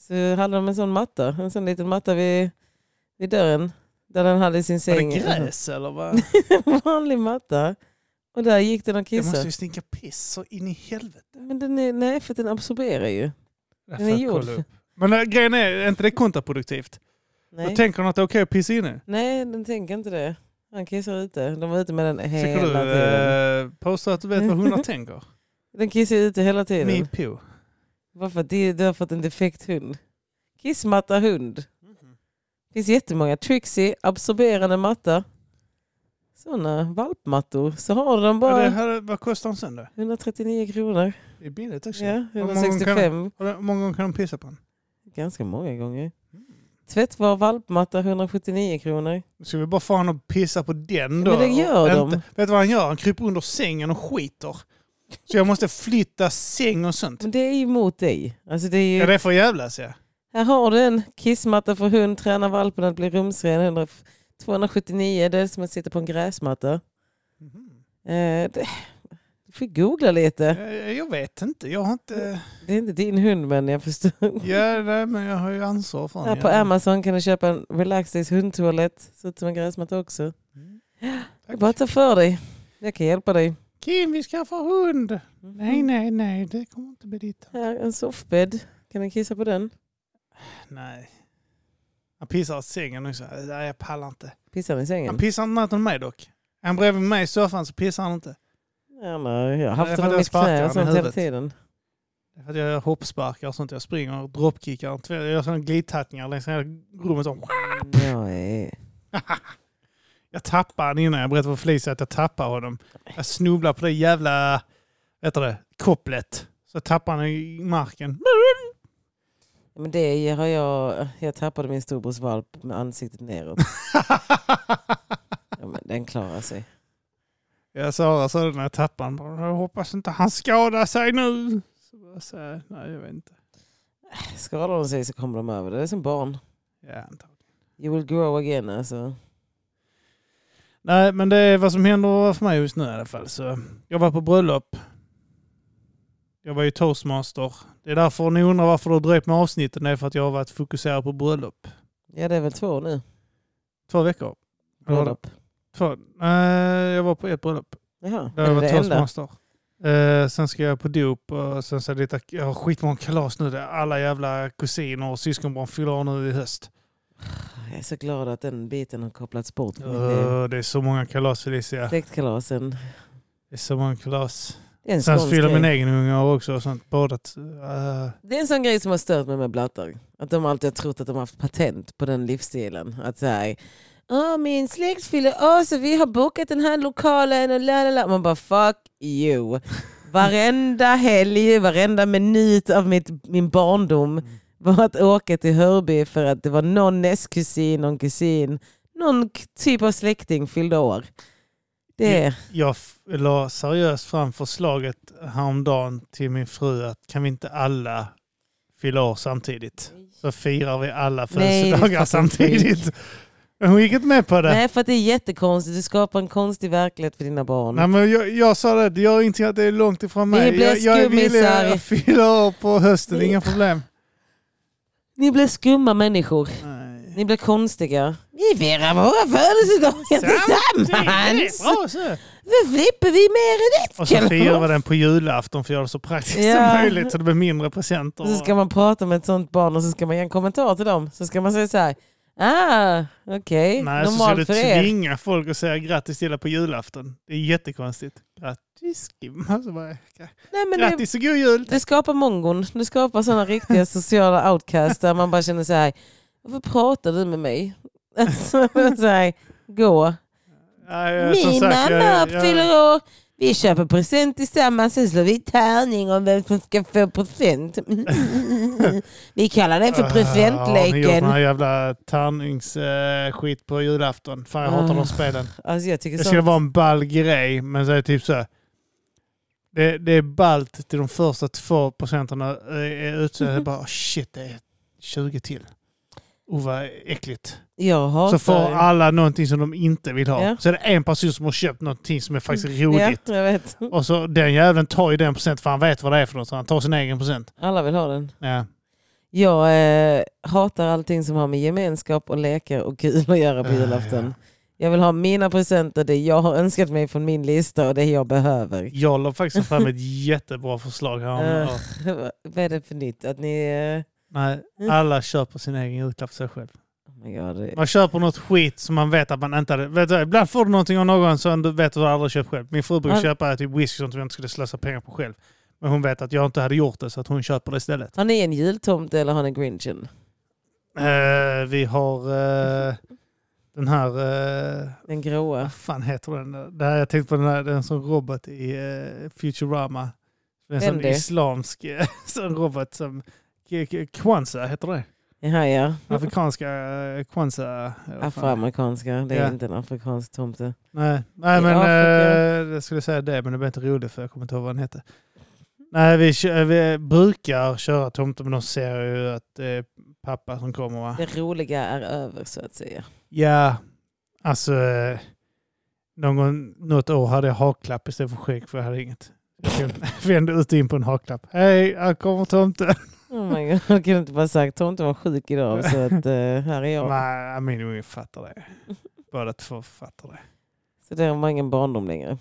S1: så hade de en sån matta. En sån liten matta vid, vid dörren. Där den hade sin
S2: Var det
S1: säng.
S2: gräs eller vad?
S1: En vanlig matta. Och där gick den och
S2: Det måste
S1: kissade.
S2: ju stinka piss så in i helvete.
S1: Men den är, nej, för att den absorberar ju.
S2: Jag
S1: Den är
S2: får
S1: gjord
S2: kolla
S1: för-
S2: upp. Men äh, grejen är, är inte det kontraproduktivt?
S1: Nej,
S2: Då tänker de att det är okej att pissa inne.
S1: nej den tänker inte det. Han kissar ute. De var ute med den hela
S2: Tycker du
S1: tiden.
S2: eh, påstå att du vet vad hundar tänker?
S1: Den kissar ute hela tiden.
S2: Me poo.
S1: Varför? Det, du har fått en defekt hund. Kissmatta hund.
S2: Mhm.
S1: Det finns jättemånga. Trixie, absorberande matta. Sådana valpmattor. Så har de
S2: Ja, det
S1: bara
S2: här, vad kostar en sån då?
S1: 139 kronor.
S2: Det är billigt också.
S1: Ja,
S2: Hur många gånger kan-
S1: 165.
S2: Hur många gånger kan de pissa på en?
S1: Ganska många gånger.
S2: Mm.
S1: Tvättbar valpmatta 179 kronor.
S2: Ska vi bara få honom att pissa på den då?
S1: Men det gör de.
S2: Och Vet du vad han gör? Han kryper under sängen och skiter. Så jag måste flytta säng och sånt.
S1: Men det är ju emot dig. Alltså det är ju...
S2: Ja, det är för jävlas ja.
S1: Här har du en kissmatta för hund, träna valpen att bli rumsren. 100 279, det är som att sitta på en gräsmatta.
S2: Mhm.
S1: Eh, det, du får googla lite.
S2: Jag, jag vet inte. Jag har inte...
S1: Det är inte din hund men jag förstår.
S2: Ja, nej, men jag har ju ansvar för
S1: Här
S2: honom.
S1: på Amazon kan du köpa en Relaxdays hundtoalett. Ser ut som en gräsmatta också.
S2: Mm. Tack.
S1: Bara ta för dig. Jag kan hjälpa dig.
S2: Kim, vi ska få hund! Nej, nej, nej. Det kommer inte bli ditt.
S1: Här, en soffbädd. Kan du kissa på den?
S2: Nej. Han pissar åt sängen också. Nej, jag pallar inte.
S1: Pissar den i
S2: Han
S1: sängen?
S2: pissar inte natten med mig dock. Är han bredvid mig i soffan så pissar han inte.
S1: Ja, nej, jag har
S2: Nej,
S1: haft
S2: för
S1: den
S2: att
S1: i
S2: jag
S1: mitt
S2: sparkar
S1: knä
S2: den
S1: och
S2: i
S1: sånt hela
S2: huvudet.
S1: tiden.
S2: För att jag gör hoppsparkar och sånt. Jag springer och droppkickar. Jag gör sådana glidtackningar längs hela rummet. Så.
S1: Jag är...
S2: Jag tappar han innan jag berättar för Felicia att jag tappar honom. Jag snubblar på det jävla vet du det, kopplet. Så jag tappar han i marken.
S1: Men det har jag... Jag tappade min storbrors valp med ansiktet neråt. Ja, men den klarar sig.
S2: jag sa så när jag tappade honom. Jag hoppas inte han skadar sig nu. Så jag säger, nej jag vet inte.
S1: Skadar de sig så kommer de över det. Det är som barn.
S2: Ja, antagligen.
S1: You will grow again alltså.
S2: nej men det är vad som händer för mig just nu i alla fall. Så jag var på bröllop. Jag var ju toastmaster. Det är därför ni undrar varför du har dröjt med avsnitten. Det är för att jag har varit fokuserad på bröllop.
S1: Ja, det är väl två nu.
S2: Två veckor. Eller var det?
S1: Bröllop.
S2: Två. Nej, jag var på ett bröllop.
S1: Jaha,
S2: Där
S1: är
S2: jag
S1: det
S2: var
S1: det enda?
S2: toastmaster. Eh, sen ska jag på dop och sen så är det lite, jag har skitmånga kalas nu. Där alla jävla kusiner och syskonbarn fyller år nu i höst.
S1: Jag är så glad att den biten har kopplats bort. från mitt liv.
S2: Eh, det är så många kalas Felicia.
S1: Släktkalasen.
S2: Det är så många kalas.
S1: Det är en
S2: Sen
S1: skånsk
S2: fyller min
S1: grej.
S2: egen unge år också och sånt. Badat. eh,
S1: Det är en sån grej som har stört mig med blattar. Att de alltid har trott att de har haft patent på den livsstilen. Att såhär, ah min släkt fyller år så vi har bokat den här lokalen och la la la. Man bara fuck you. Varenda helg, varenda minut av mitt, min barndom var att åka till Hörby för att det var någon nästkusin, någon kusin, någon k- typ av släkting fyllde år. Det är...
S2: jag f- la seriöst fram förslaget häromdagen till min fru att kan vi inte alla fylla år samtidigt? Så firar vi alla
S1: Nej, det är
S2: födelsedagar
S1: fucking
S2: samtidigt. Men hon gick inte med på det.
S1: Nej för att det är jättekonstigt, du skapar en konstig verklighet för dina barn.
S2: Nej, men jag, jag sa det, det gör ingenting att det är långt ifrån
S1: Ni
S2: mig.
S1: blir
S2: jag, jag är villig
S1: skummisar.
S2: att fylla år på hösten,
S1: Ni-
S2: inga problem.
S1: Ni blir skumma människor.
S2: Nej.
S1: Ni blir konstiga. Vi firar våra födelsedagar tillsammans!
S2: Bra, så.
S1: Då slipper vi mer än ett
S2: Och så firar vi
S1: kalas.
S2: den på julafton för att göra det så praktiskt
S1: Ja.
S2: som möjligt så det blir mindre presenter.
S1: Och Så ska man prata med ett sånt barn och så ska man ge en kommentar till dem. Så ska man säga så här. Ah, okej.
S2: Nej, så ska du
S1: Normalt för er.
S2: tvinga folk att säga grattis till dig på julafton. Det är jättekonstigt. Grattis Kim. Alltså bara,
S1: Nej, men det,
S2: grattis och god jul!
S1: det skapar mongon. Det skapar sådana riktiga sociala outcasts där man bara känner så här. Varför pratar du med mig? Alltså, så här, gå.
S2: Ja, ja, Eh, som
S1: Min
S2: sagt, jag-
S1: mamma
S2: jag-
S1: fyller år. Vi köper present tillsammans, sen slår vi tärning om vem som ska få present. Vi kallar den för
S2: Ah, Har ni gjort den här
S1: presentleken.
S2: jävla tärningsskit på julafton? Fan jag hatar
S1: Ah.
S2: de spelen.
S1: Alltså jag tycker
S2: Det skulle
S1: sånt.
S2: vara en ball grej, men så är det typ så här. Det, det är ballt till de första två procenterna eh, är ute. Det är bara oh, shit, det är 20 till. Oh, vad äckligt.
S1: Jag hatar
S2: Så får
S1: det.
S2: alla någonting som de inte vill ha.
S1: Ja. Mm.
S2: Så är det en person som har köpt någonting som är faktiskt
S1: Ja,
S2: roligt.
S1: jag vet.
S2: Och så den jäveln tar ju den procent för han vet vad det är för något. Så han tar sin egen procent.
S1: Alla vill ha den.
S2: Ja.
S1: Jag eh, hatar allting som har med gemenskap och lekar och kul att göra på
S2: Ah,
S1: julafton. Jag vill ha mina presenter, det jag har önskat mig från min lista och det jag behöver.
S2: Jag la faktiskt fram ett jättebra förslag här.
S1: Eh, Vad är det för nytt? Att ni... eh,
S2: Nej, alla köper sin egen julklapp till sig själv.
S1: Oh my God. det-
S2: Man köper något skit som man vet att man inte hade... Vet du, ibland får du någonting av någon som du vet att du aldrig köpt själv. Min fru brukar
S1: Ja.
S2: köpa typ whisky som jag inte skulle slösa pengar på själv. Men hon vet att jag inte hade gjort det så att hon köper det istället.
S1: Har ni en jultomte eller har ni grinchen?
S2: Eh, vi har eh, den här... eh,
S1: Den gråa.
S2: vad fan heter den? Det här, jag tänkte på den här, den som robot i eh, Futurama. Det är En sån
S1: Wendy.
S2: islamsk eh, sån robot som... K- K- Kwanza heter det.
S1: Jaha ja.
S2: Afrikanska eh, Kwanza.
S1: Ah,
S2: eller vad fan det är.
S1: Afroamerikanska. Det är
S2: Ja.
S1: inte en afrikansk tomte.
S2: Nej, Nej
S1: I
S2: men
S1: Afrika.
S2: eh, jag skulle säga det, men det blev inte roligt för jag kommer inte ihåg vad den hette. Nej, vi, kö- vi brukar köra tomten, men de ser ju att det är pappa som kommer va?
S1: Det roliga är över så att säga.
S2: Ja, alltså eh, någon, gång- något år hade jag haklapp istället för skägg för jag hade inget. Jag vände ut och in på en haklapp. Hej, här kommer tomten.
S1: Oh my God. Jag kunde inte bara sagt tomten var sjuk idag så att eh, här är jag.
S2: Nej, min unge fattar det. Båda två fattar det.
S1: Så det har man ingen barndom längre.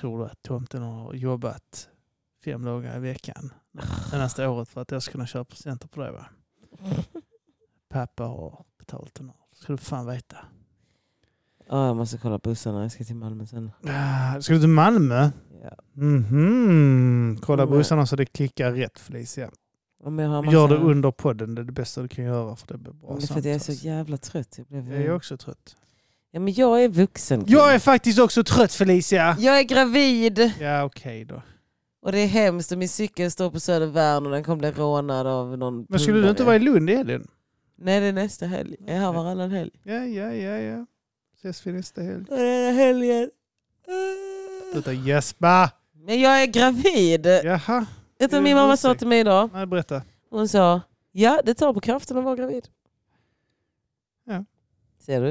S2: Tror du att tomten har jobbat fem dagar i veckan senaste året för att jag ska kunna köra presenter på dig? Va? Pappa har betalt den. Ska du fan veta.
S1: Ja, jag måste kolla bussarna, jag ska till Malmö sen.
S2: Ah, Ska du till Malmö?
S1: Ja.
S2: Mhm. Kolla
S1: Mm.
S2: bussarna så det klickar rätt Felicia.
S1: Om jag har en
S2: Gör det
S1: massa-
S2: under podden, det är det bästa du kan göra för det blir bra
S1: Men det är för att jag är så
S2: samtal.
S1: jävla trött. Jag, blev...
S2: Jag är också trött.
S1: ja, men jag är vuxen. Kim.
S2: Jag är faktiskt också trött Felicia!
S1: jag är gravid!
S2: Ja okej då.
S1: Och det är hemskt och min cykel står på Södervärn och den kommer bli rånad av någon
S2: Men skulle du inte
S1: pundare.
S2: vara i Lund i helgen?
S1: Nej det är nästa helg. Jag är här varannan helg.
S2: Ja, ja, ja, ja. Ses vi nästa helg.
S1: Varannan helgen.
S2: Sluta gäspa!
S1: Men jag är gravid.
S2: Jaha.
S1: Vet du vad
S2: det
S1: min
S2: är en
S1: mamma sa
S2: ursäkt.
S1: till mig idag?
S2: Nej, berätta.
S1: Hon sa, ja det tar på kraften att vara gravid.
S2: Ja.
S1: Ser du?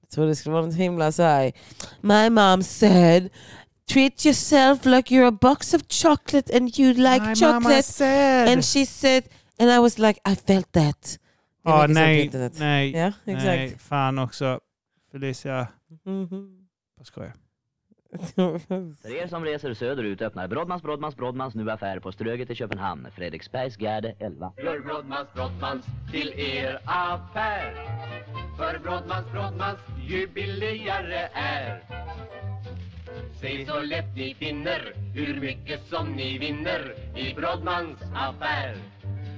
S1: Jag trodde det skulle vara något himla så här. My mom said treat yourself like you're a box of chocolate and you like
S2: My Mama
S1: chocolate.
S2: said.
S1: And she said, and I was like, I felt that. Det var
S2: ah,
S1: liksom på
S2: nej,
S1: internet.
S2: nej,
S1: Ja,
S2: nej,
S1: exakt.
S2: fan också. Felicia,
S1: Mhm.
S2: vad skojar.
S4: För er som reser söderut öppnar Brodmans Brodmans Brodmans nu affär på Ströget i Köpenhamn, Fredriksbergsgärde 11.
S3: Gör Brodmans Brottmans till er affär. För Brottmans Brottmans ju billigare är. Säg så lätt ni finner hur mycket som ni vinner i Brottmans affär.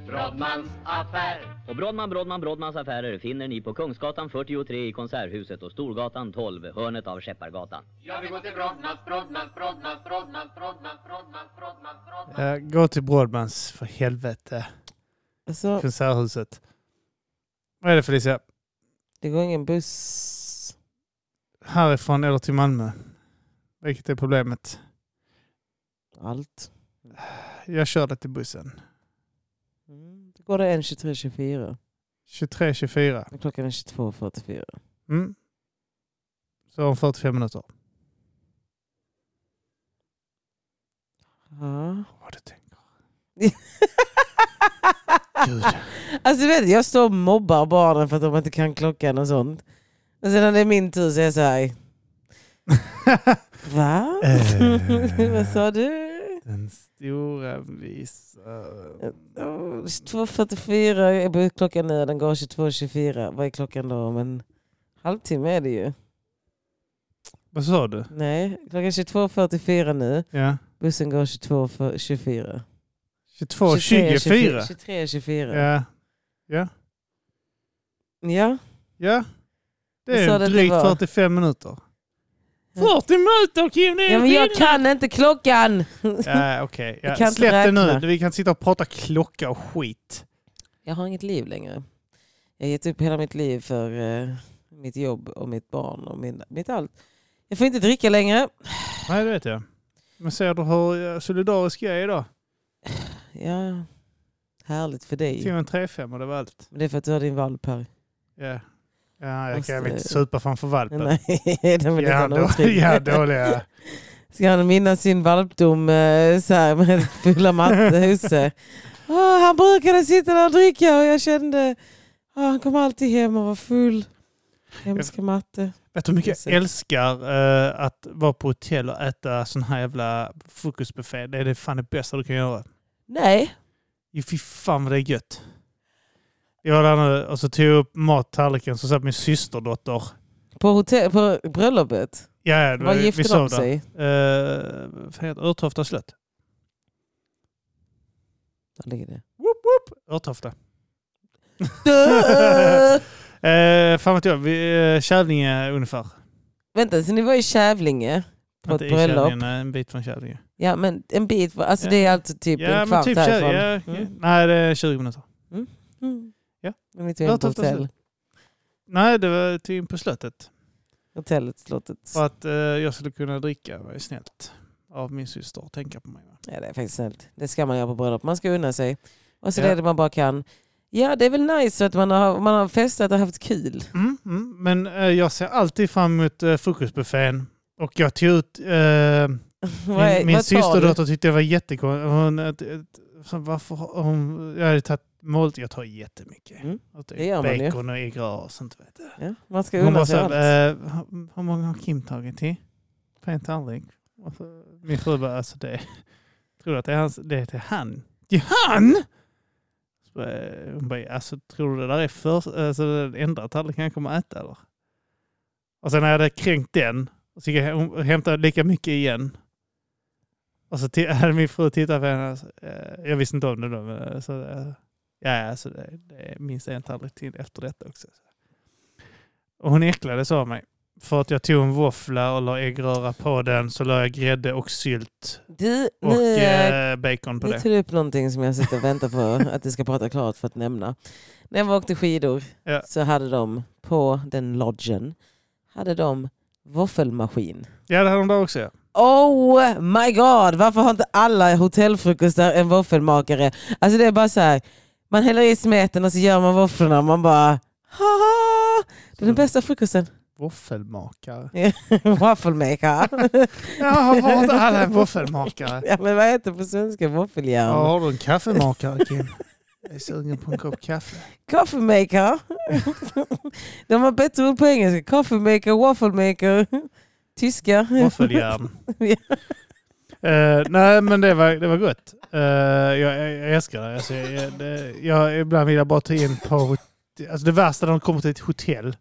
S3: Brottmans affär.
S4: Och Brodman Brodman Brodmans affärer finner ni på Kungsgatan 43 i Konserthuset och Storgatan 12, hörnet av Skeppargatan.
S3: Jag vill gå till Brottmans, Brottmans, Brottmans, Brottmans, Brottmans, Brottmans, Brottmans, Brottmans.
S2: Eh, gå till Brodmans, för helvete.
S1: alltså,
S2: Konserthuset. Vad är det Felicia?
S1: det går ingen buss.
S2: Härifrån eller till Malmö? Vilket är problemet?
S1: Allt.
S2: Jag körde till bussen.
S1: Mm. Då går det en 23.24
S2: 23.24.
S1: och klockan är 22.44.
S2: Mm. Så om 45 minuter.
S1: Ja.
S2: Vad du tänker. Gud.
S1: Alltså vet du, jag står och mobbar barnen för att de inte kan klockan och sånt. Och sen när det är min tur så är jag så här, va?
S2: Eh.
S1: Vad sa du?
S2: Den stora visaren.
S1: 2.44 är klockan nu och den går 22.24. Vad är klockan då? Om en halvtimme är det ju.
S2: Vad sa du?
S1: Nej, klockan 22.44 nu.
S2: Ja.
S1: Bussen går 22.24.
S2: 22, 24.
S1: 23.24. Ja.
S2: Ja. Ja.
S1: ja,
S2: ja.
S1: Vad
S2: Det
S1: sa
S2: är
S1: du att det
S2: drygt
S1: var?
S2: 45 minuter.
S1: Ja.
S2: 40 minuter Kim! Det är en
S1: men jag
S2: skillnad.
S1: kan inte klockan!
S2: Ja, okej.
S1: Jag kan
S2: Ja,
S1: inte
S2: släpp det nu.
S1: räkna.
S2: Vi kan sitta och prata klocka och skit.
S1: Jag har inget liv längre. Jag har gett upp hela mitt liv för eh, mitt jobb och mitt barn och min, mitt allt. Jag får inte dricka längre.
S2: Nej, det vet jag. Men ser du hur eh, solidarisk jag är idag?
S1: Ja, härligt för dig.
S2: Tog en 3-5 och det var allt.
S1: Men det är för att du har din valp här.
S2: Ja. Ja, jag
S1: Måste-
S2: kan väl inte supa framför valpen.
S1: Alltså, Nej, den vill inte
S2: ja,
S1: ha
S2: då,
S1: någon trygg.
S2: ja, dåliga.
S1: Ska han minnas sin valpdom eh, så här med fulla mattehusse? Oh, han brukade sitta där och dricka och jag kände ah, han kom alltid hem och var full. Hemska matte.
S2: Vet du hur mycket jag
S1: Precis.
S2: älskar eh, att vara på hotell och äta sån här jävla frukostbuffé? Det är det fan det bästa du kan göra.
S1: Nej.
S2: Jo, fy fan vad det är gött. Jag var där nu och så tog jag upp mattallriken så satt min systerdotter.
S1: På, hotell, på bröllopet?
S2: Ja, ja, det
S1: Var
S2: vi
S1: gifte
S2: sov
S1: de
S2: där.
S1: sig?
S2: Eh, vad fan heter det? Örtofta slött.
S1: Där ligger det.
S2: Woop, woop. Örtofta. Eh, fan vet jag. Vi, eh, Kävlinge ungefär.
S1: Vänta, så ni var i Kävlinge? På
S2: Inte
S1: ett
S2: i
S1: bröllop?
S2: Kävlinge, nej, eh, en bit från Kävlinge.
S1: Ja, men en bit. var- Alltså
S2: Ja.
S1: det är alltså typ en kvart härifrån.
S2: Kävlinge, ja, ja.
S1: Mm.
S2: Nej, det är 20 minuter.
S1: Mm.
S2: Ja.
S1: Men ni tog hem på
S2: Örtofta
S1: hotell.
S2: slott. Nej, det var till in på slottet.
S1: Hotellet, slottet.
S2: För att eh, jag skulle kunna dricka, var ju snällt. Av min syster, att tänka på mig. Va?
S1: Ja, det är faktiskt snällt. Det ska man göra på bröllop. Man ska unna sig. Och så
S2: Ja.
S1: det är det man bara kan. Ja, det är väl nice att man har, man har festat och haft kul.
S2: Mm, mm. Men eh, jag ser alltid fram emot eh, frukostbuffén. Och jag tog ut... Eh,
S1: Vad är-
S2: min min
S1: vad tar du?
S2: systerdotter tyckte jag var jättekonstig. Hon, ett- ett- så varför har hon... Jag hade tagit mål... Jag tar jättemycket.
S1: Mm,
S2: Och typ
S1: det gör man ju.
S2: Bacon och ägg och sånt. Vet du.
S1: Ja, man ska
S2: Hon
S1: unna
S2: bara
S1: sig
S2: så
S1: allt.
S2: här, eh, hur- hur många har Kim tagit till? På en tallrik? Och så, min fru bara, alltså det... Tror du att det är, hans, det är till han? Det är han! Så, bara, hon bara, alltså tror du det där är för, alltså, den enda tallriken han kommer äta eller? Och sen när jag hade kränkt den, så gick jag hem och hämtade lika mycket igen. Och så t- hade min fru tittat på henne, alltså, eh, jag visste inte om det då, men eh, så, eh, ja, alltså, det, det är minst en tallrik till efter detta också. Och hon äcklades av mig. För att jag tog en våffla och la äggröra på den så la jag grädde och sylt
S1: Du,
S2: och
S1: nu, eh,
S2: eh, bacon på
S1: nu
S2: det.
S1: tar du upp typ någonting som jag sitter och väntar på att du ska prata klart för att nämna. När jag var åkte skidor
S2: Ja.
S1: så hade de på den lodgen hade de våffelmaskin.
S2: Ja, det hade de där också. Ja.
S1: Oh my god, varför har inte alla hotellfrukostar en våffelmakare? Alltså det är bara så här, man
S2: Mm.
S1: häller i smeten och så gör man våfflorna och man bara haha, det är den bästa frukosten.
S2: Våffelmakare.
S1: Waffelmaker.
S2: Jaha, var inte han en våffelmakare?
S1: ja, men vad heter på svenska
S2: Ja,
S1: våffeljärn?
S2: har du en kaffemakare Kim? Jag är sugen på en kopp kaffe.
S1: Coffee maker. De har bättre ord på engelska. Coffee maker, waffle maker. Tyska.
S2: Våffeljärn.
S1: Ja.
S2: Eh, nej men det var, det var gott. Eh, jag, jag, jag älskar det. Alltså, jag, jag, det- jag, ibland vill jag bara ta in på hot- alltså, Det värsta när de kommer till ett hotell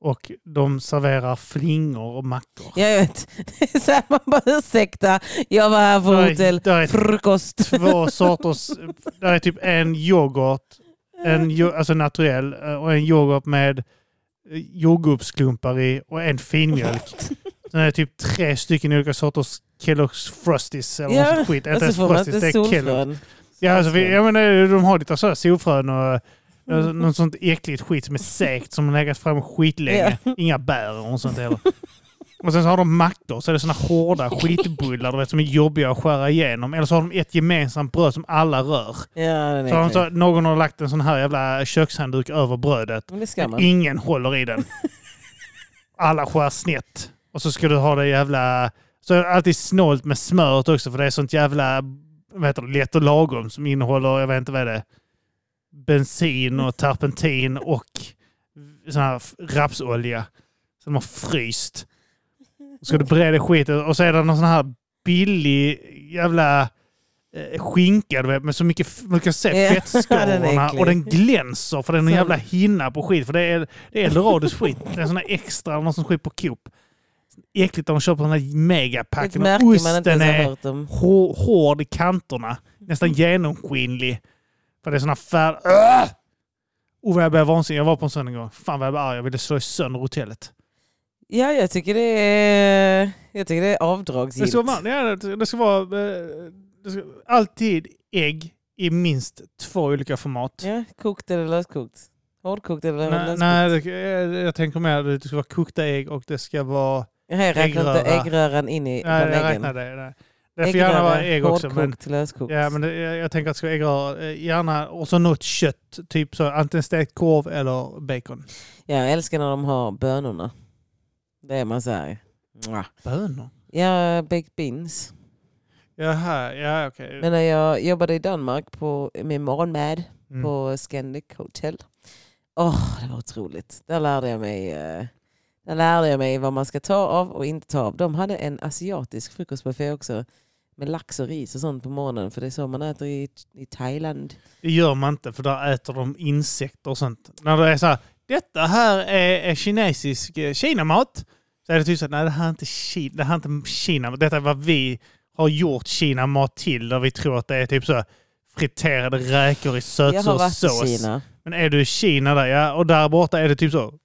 S2: och de serverar flingor och mackor.
S1: Jag vet. Det är så här, man bara ursäkta, jag var här för
S2: Där är-
S1: hotell.
S2: där är-
S1: Frukost.
S2: Två sorters, där är typ en yoghurt, en, yo- alltså naturell, eh, och en yoghurt med eh, jordgubbsklumpar i och en finmjölk. Sen är det typ tre stycken olika sorters Kellogg's Frosties eller
S1: Ja, alltså
S2: något
S1: Och
S2: sånt skit. Inte
S1: så
S2: ens
S1: får man
S2: Frosties, det
S1: inte
S2: är Kellogg's.
S1: solfrön.
S2: Ja, alltså, vi, jag menar, de har lite sådär solfrön och eh, något sånt äckligt skit som är segt som har legat fram skitlänge. Inga bär och sånt heller. Och sen så har de mackor, så är det såna hårda skitbullar du vet, som är jobbiga att skära igenom. Eller så har de ett gemensamt bröd som alla rör.
S1: Ja, den
S2: Så har
S1: är
S2: de så,
S1: äcklig.
S2: någon har lagt en sån här jävla kökshandduk över brödet.
S1: Men det ska man.
S2: Ingen håller i den. Alla skär snett. Och så ska du ha det jävla... Så är det alltid snålt med smöret också för det är sånt jävla vad heter det, lätt och lagom som innehåller, jag vet inte vad det är, bensin och terpentin och sån här rapsolja som de har fryst. Så ska du bereda skiten och så är det någon sån här billig jävla eh, skinka du vet, med så mycket, f- man kan se
S1: Ja, den är
S2: fettskorna
S1: äcklig.
S2: och den glänser för det är någon
S1: Så-
S2: jävla hinna på skit. För det är, det är Eldorados skit. Det är sån här extra, någon som skit på Coop. Äckligt att de köper den här
S1: Ett
S2: megapacken. och
S1: märke man inte ens
S2: Osten
S1: Mm. har
S2: är
S1: hört om.
S2: hår, hård i kanterna. Nästan genomskinlig. För det är såna färg... Öh! Oh, vad jag blev vansinnig. Jag var på en sån en gång. Fan vad jag blev arg. Jag ville slå sönder hotellet.
S1: Ja, jag tycker det är, jag tycker det är
S2: Det
S1: avdragsgillt.
S2: ska, vara, ja, det det ska vara... eh, Det ska, alltid ägg i minst två olika format.
S1: Ja, kokt eller löskokt? Hårdkokt eller
S2: Nej,
S1: löskokt?
S2: nej det, jag, jag tänker mer att det ska vara kokta ägg och det ska vara...
S1: Nej, jag räknar inte
S2: äggröra.
S1: äggröran in i
S2: Nej,
S1: bland
S2: jag
S1: äggen.
S2: räknar det. Nej. Det får gärna vara ägg också. Men,
S1: hårdkokt, löskokt.
S2: ja, men det, jag, jag tänker att det ska vara äggröra. eh, Gärna och så något kött. Typ så antingen stekt korv eller bacon.
S1: Ja, jag älskar när de har bönorna. Det är man så här. "Mwah."
S2: Bönor?
S1: Ja, baked beans.
S2: Jaha, ja okej.
S1: Men när jag jobbade i Danmark på, med morgonmad
S2: Mm.
S1: på Scandic Hotel. Åh, det var otroligt. Där lärde, jag mig, eh, där lärde jag mig vad man ska ta av och inte ta av. De hade en asiatisk frukostbuffé också med lax och ris och sånt på morgonen. För det är så man äter i, i Thailand.
S2: Det gör man inte för där äter de insekter och sånt. När det är så här, detta här är, är kinesisk eh, kinamat. Så är det typ så att nej det här är inte Kina, det här är inte Kina, detta är vad vi har gjort kinamat till. Där vi tror att det är typ så här friterade räkor i
S1: Jag har varit
S2: sötsås.
S1: i Kina.
S2: Men är du i Kina där, ja, och där borta är det typ så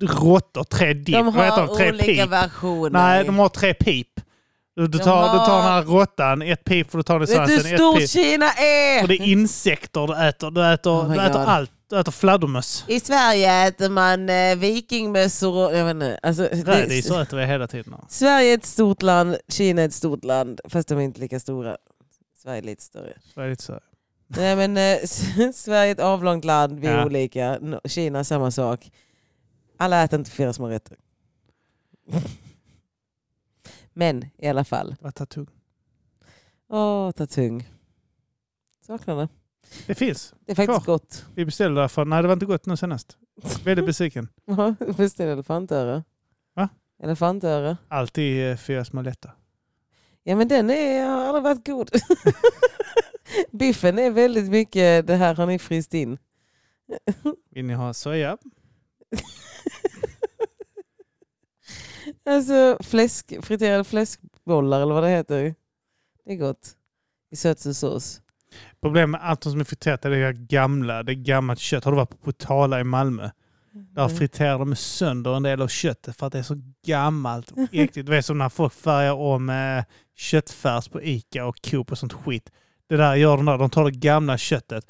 S2: råttor, tre dipp,
S1: De
S2: vad heter
S1: har
S2: de? Tre
S1: olika
S2: pip.
S1: versioner.
S2: Nej, de har tre pip. Du, du,
S1: De
S2: tar, du tar den
S1: har-
S2: här råttan, ett pip får du ta den i
S1: Vet du
S2: svansen,
S1: hur
S2: ett
S1: stort
S2: pip.
S1: Kina
S2: Och
S1: är?
S2: det är insekter du äter. Du äter,
S1: Mm. Oh my
S2: du äter
S1: God.
S2: allt. Du äter fladdermöss.
S1: I Sverige äter man eh, vikingmössor och... Jag vet inte, alltså,
S2: Rädisor äter vi hela tiden.
S1: Sverige är ett stort land, Kina är ett stort land, fast de är inte lika stora. Sverige är lite större.
S2: Det är lite så.
S1: Nej, men, eh, Sverige är ett avlångt land, vi är
S2: Ja.
S1: olika. No- Kina samma sak. Alla äter inte fyra små rätter. Men i alla fall.
S2: Vad tar tugg.
S1: Åh, ta tung. Saknar det.
S2: Det finns.
S1: Det är faktiskt gott.
S2: Vi beställde därför. Nej, det var inte gott nu senast.
S1: Mm.
S2: Väldigt besviken.
S1: Ja, Visst är det elefantöra?
S2: Va?
S1: Elefantöra.
S2: Alltid eh, fyra små lätta.
S1: Ja men den är, har aldrig varit god. Biffen är väldigt mycket, det här har ni fryst in.
S2: Vill ni ha soja?
S1: Alltså fläsk, friterade fläskbollar eller vad det heter. Det är gott. I sötsås.
S2: Problemet med allt som är friterat är det gamla. Det är gammalt kött. Har du varit på Potala i Malmö? Där
S1: Mm.
S2: friterar de sönder en del av köttet för att det är så gammalt och äckligt. Det är som när folk färgar om eh, köttfärs på Ica och Coop och sånt skit. Det där gör de där. De tar det gamla köttet.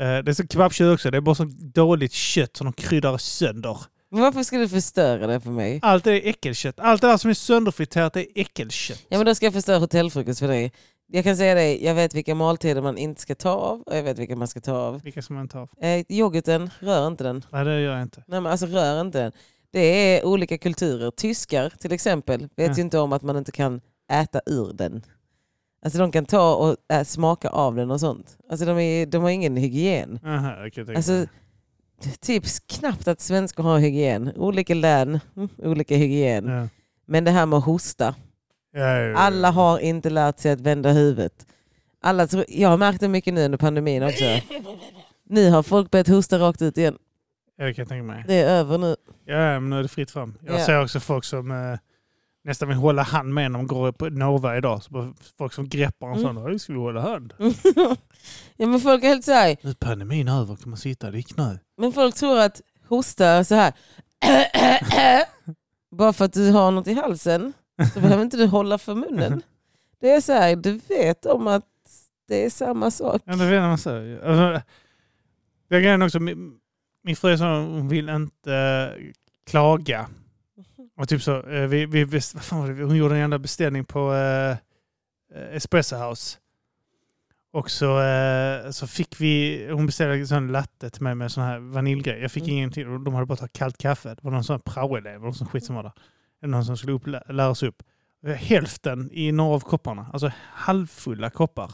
S2: Eh, det är så kebabkött också. Det är bara så dåligt kött som de kryddar sönder.
S1: Men varför ska du förstöra det för mig?
S2: Allt är äckelkött. Allt det där som är sönderfriterat är äckelkött.
S1: Ja men då ska jag förstöra hotellfrukost för dig. Jag kan säga dig, jag vet vilka måltider man inte ska ta av och jag vet vilka man ska ta av.
S2: Vilka som man tar.
S1: Eh, yoghurten, rör inte den.
S2: Nej, det gör jag inte.
S1: Nej men alltså rör inte den. Det är olika kulturer. Tyskar till exempel vet
S2: Ja.
S1: ju inte om att man inte kan äta ur den. Alltså de kan ta och äh, smaka av den och sånt. Alltså de, är, de har ingen hygien.
S2: Aha, jag kan tänka
S1: Alltså,
S2: mig.
S1: typ knappt att svenskar har hygien. Olika län, mm, olika hygien.
S2: ja.
S1: Men det här med att hosta.
S2: Ja, ja, ja.
S1: Alla har inte lärt sig att vända huvudet. Alla tror, jag har märkt det mycket nu under pandemin också. Nu har folk börjat hosta rakt ut igen.
S2: Jag kan tänka mig.
S1: Det är över nu.
S2: Ja, ja, men nu är det fritt fram. Jag
S1: Ja.
S2: ser också folk som eh, nästan vill hålla hand med när de går på Nova idag. Så bara folk som greppar en
S1: Mm.
S2: sån. "Oj, Ska vi hålla hand?
S1: ja, men folk är helt så här.
S2: Nu är pandemin över. Kan man sitta? Det gick nu.
S1: Men folk tror att hosta är så här. Bara för att du har något i halsen så behöver inte du hålla för munnen. Det är så här, du vet om att det är samma sak.
S2: Ja, det vet man så. Alltså, det är grejen också. Min, min fru sa hon vill inte eh, klaga. Och typ så, eh, vi, vi, best- vad fan var det? vi- hon gjorde en jävla beställning på eh, eh, Espresso House. Och så, eh, så fick vi, hon beställde en sån latte till mig med sån här vaniljgrej. Jag fick
S1: Mm.
S2: ingenting och de hade bara tagit kallt kaffe. Det var någon sån här praoelev, någon sån skit som var där. Det var Någon som skulle upp, lära sig upp. Hälften i några av kopparna, alltså halvfulla koppar.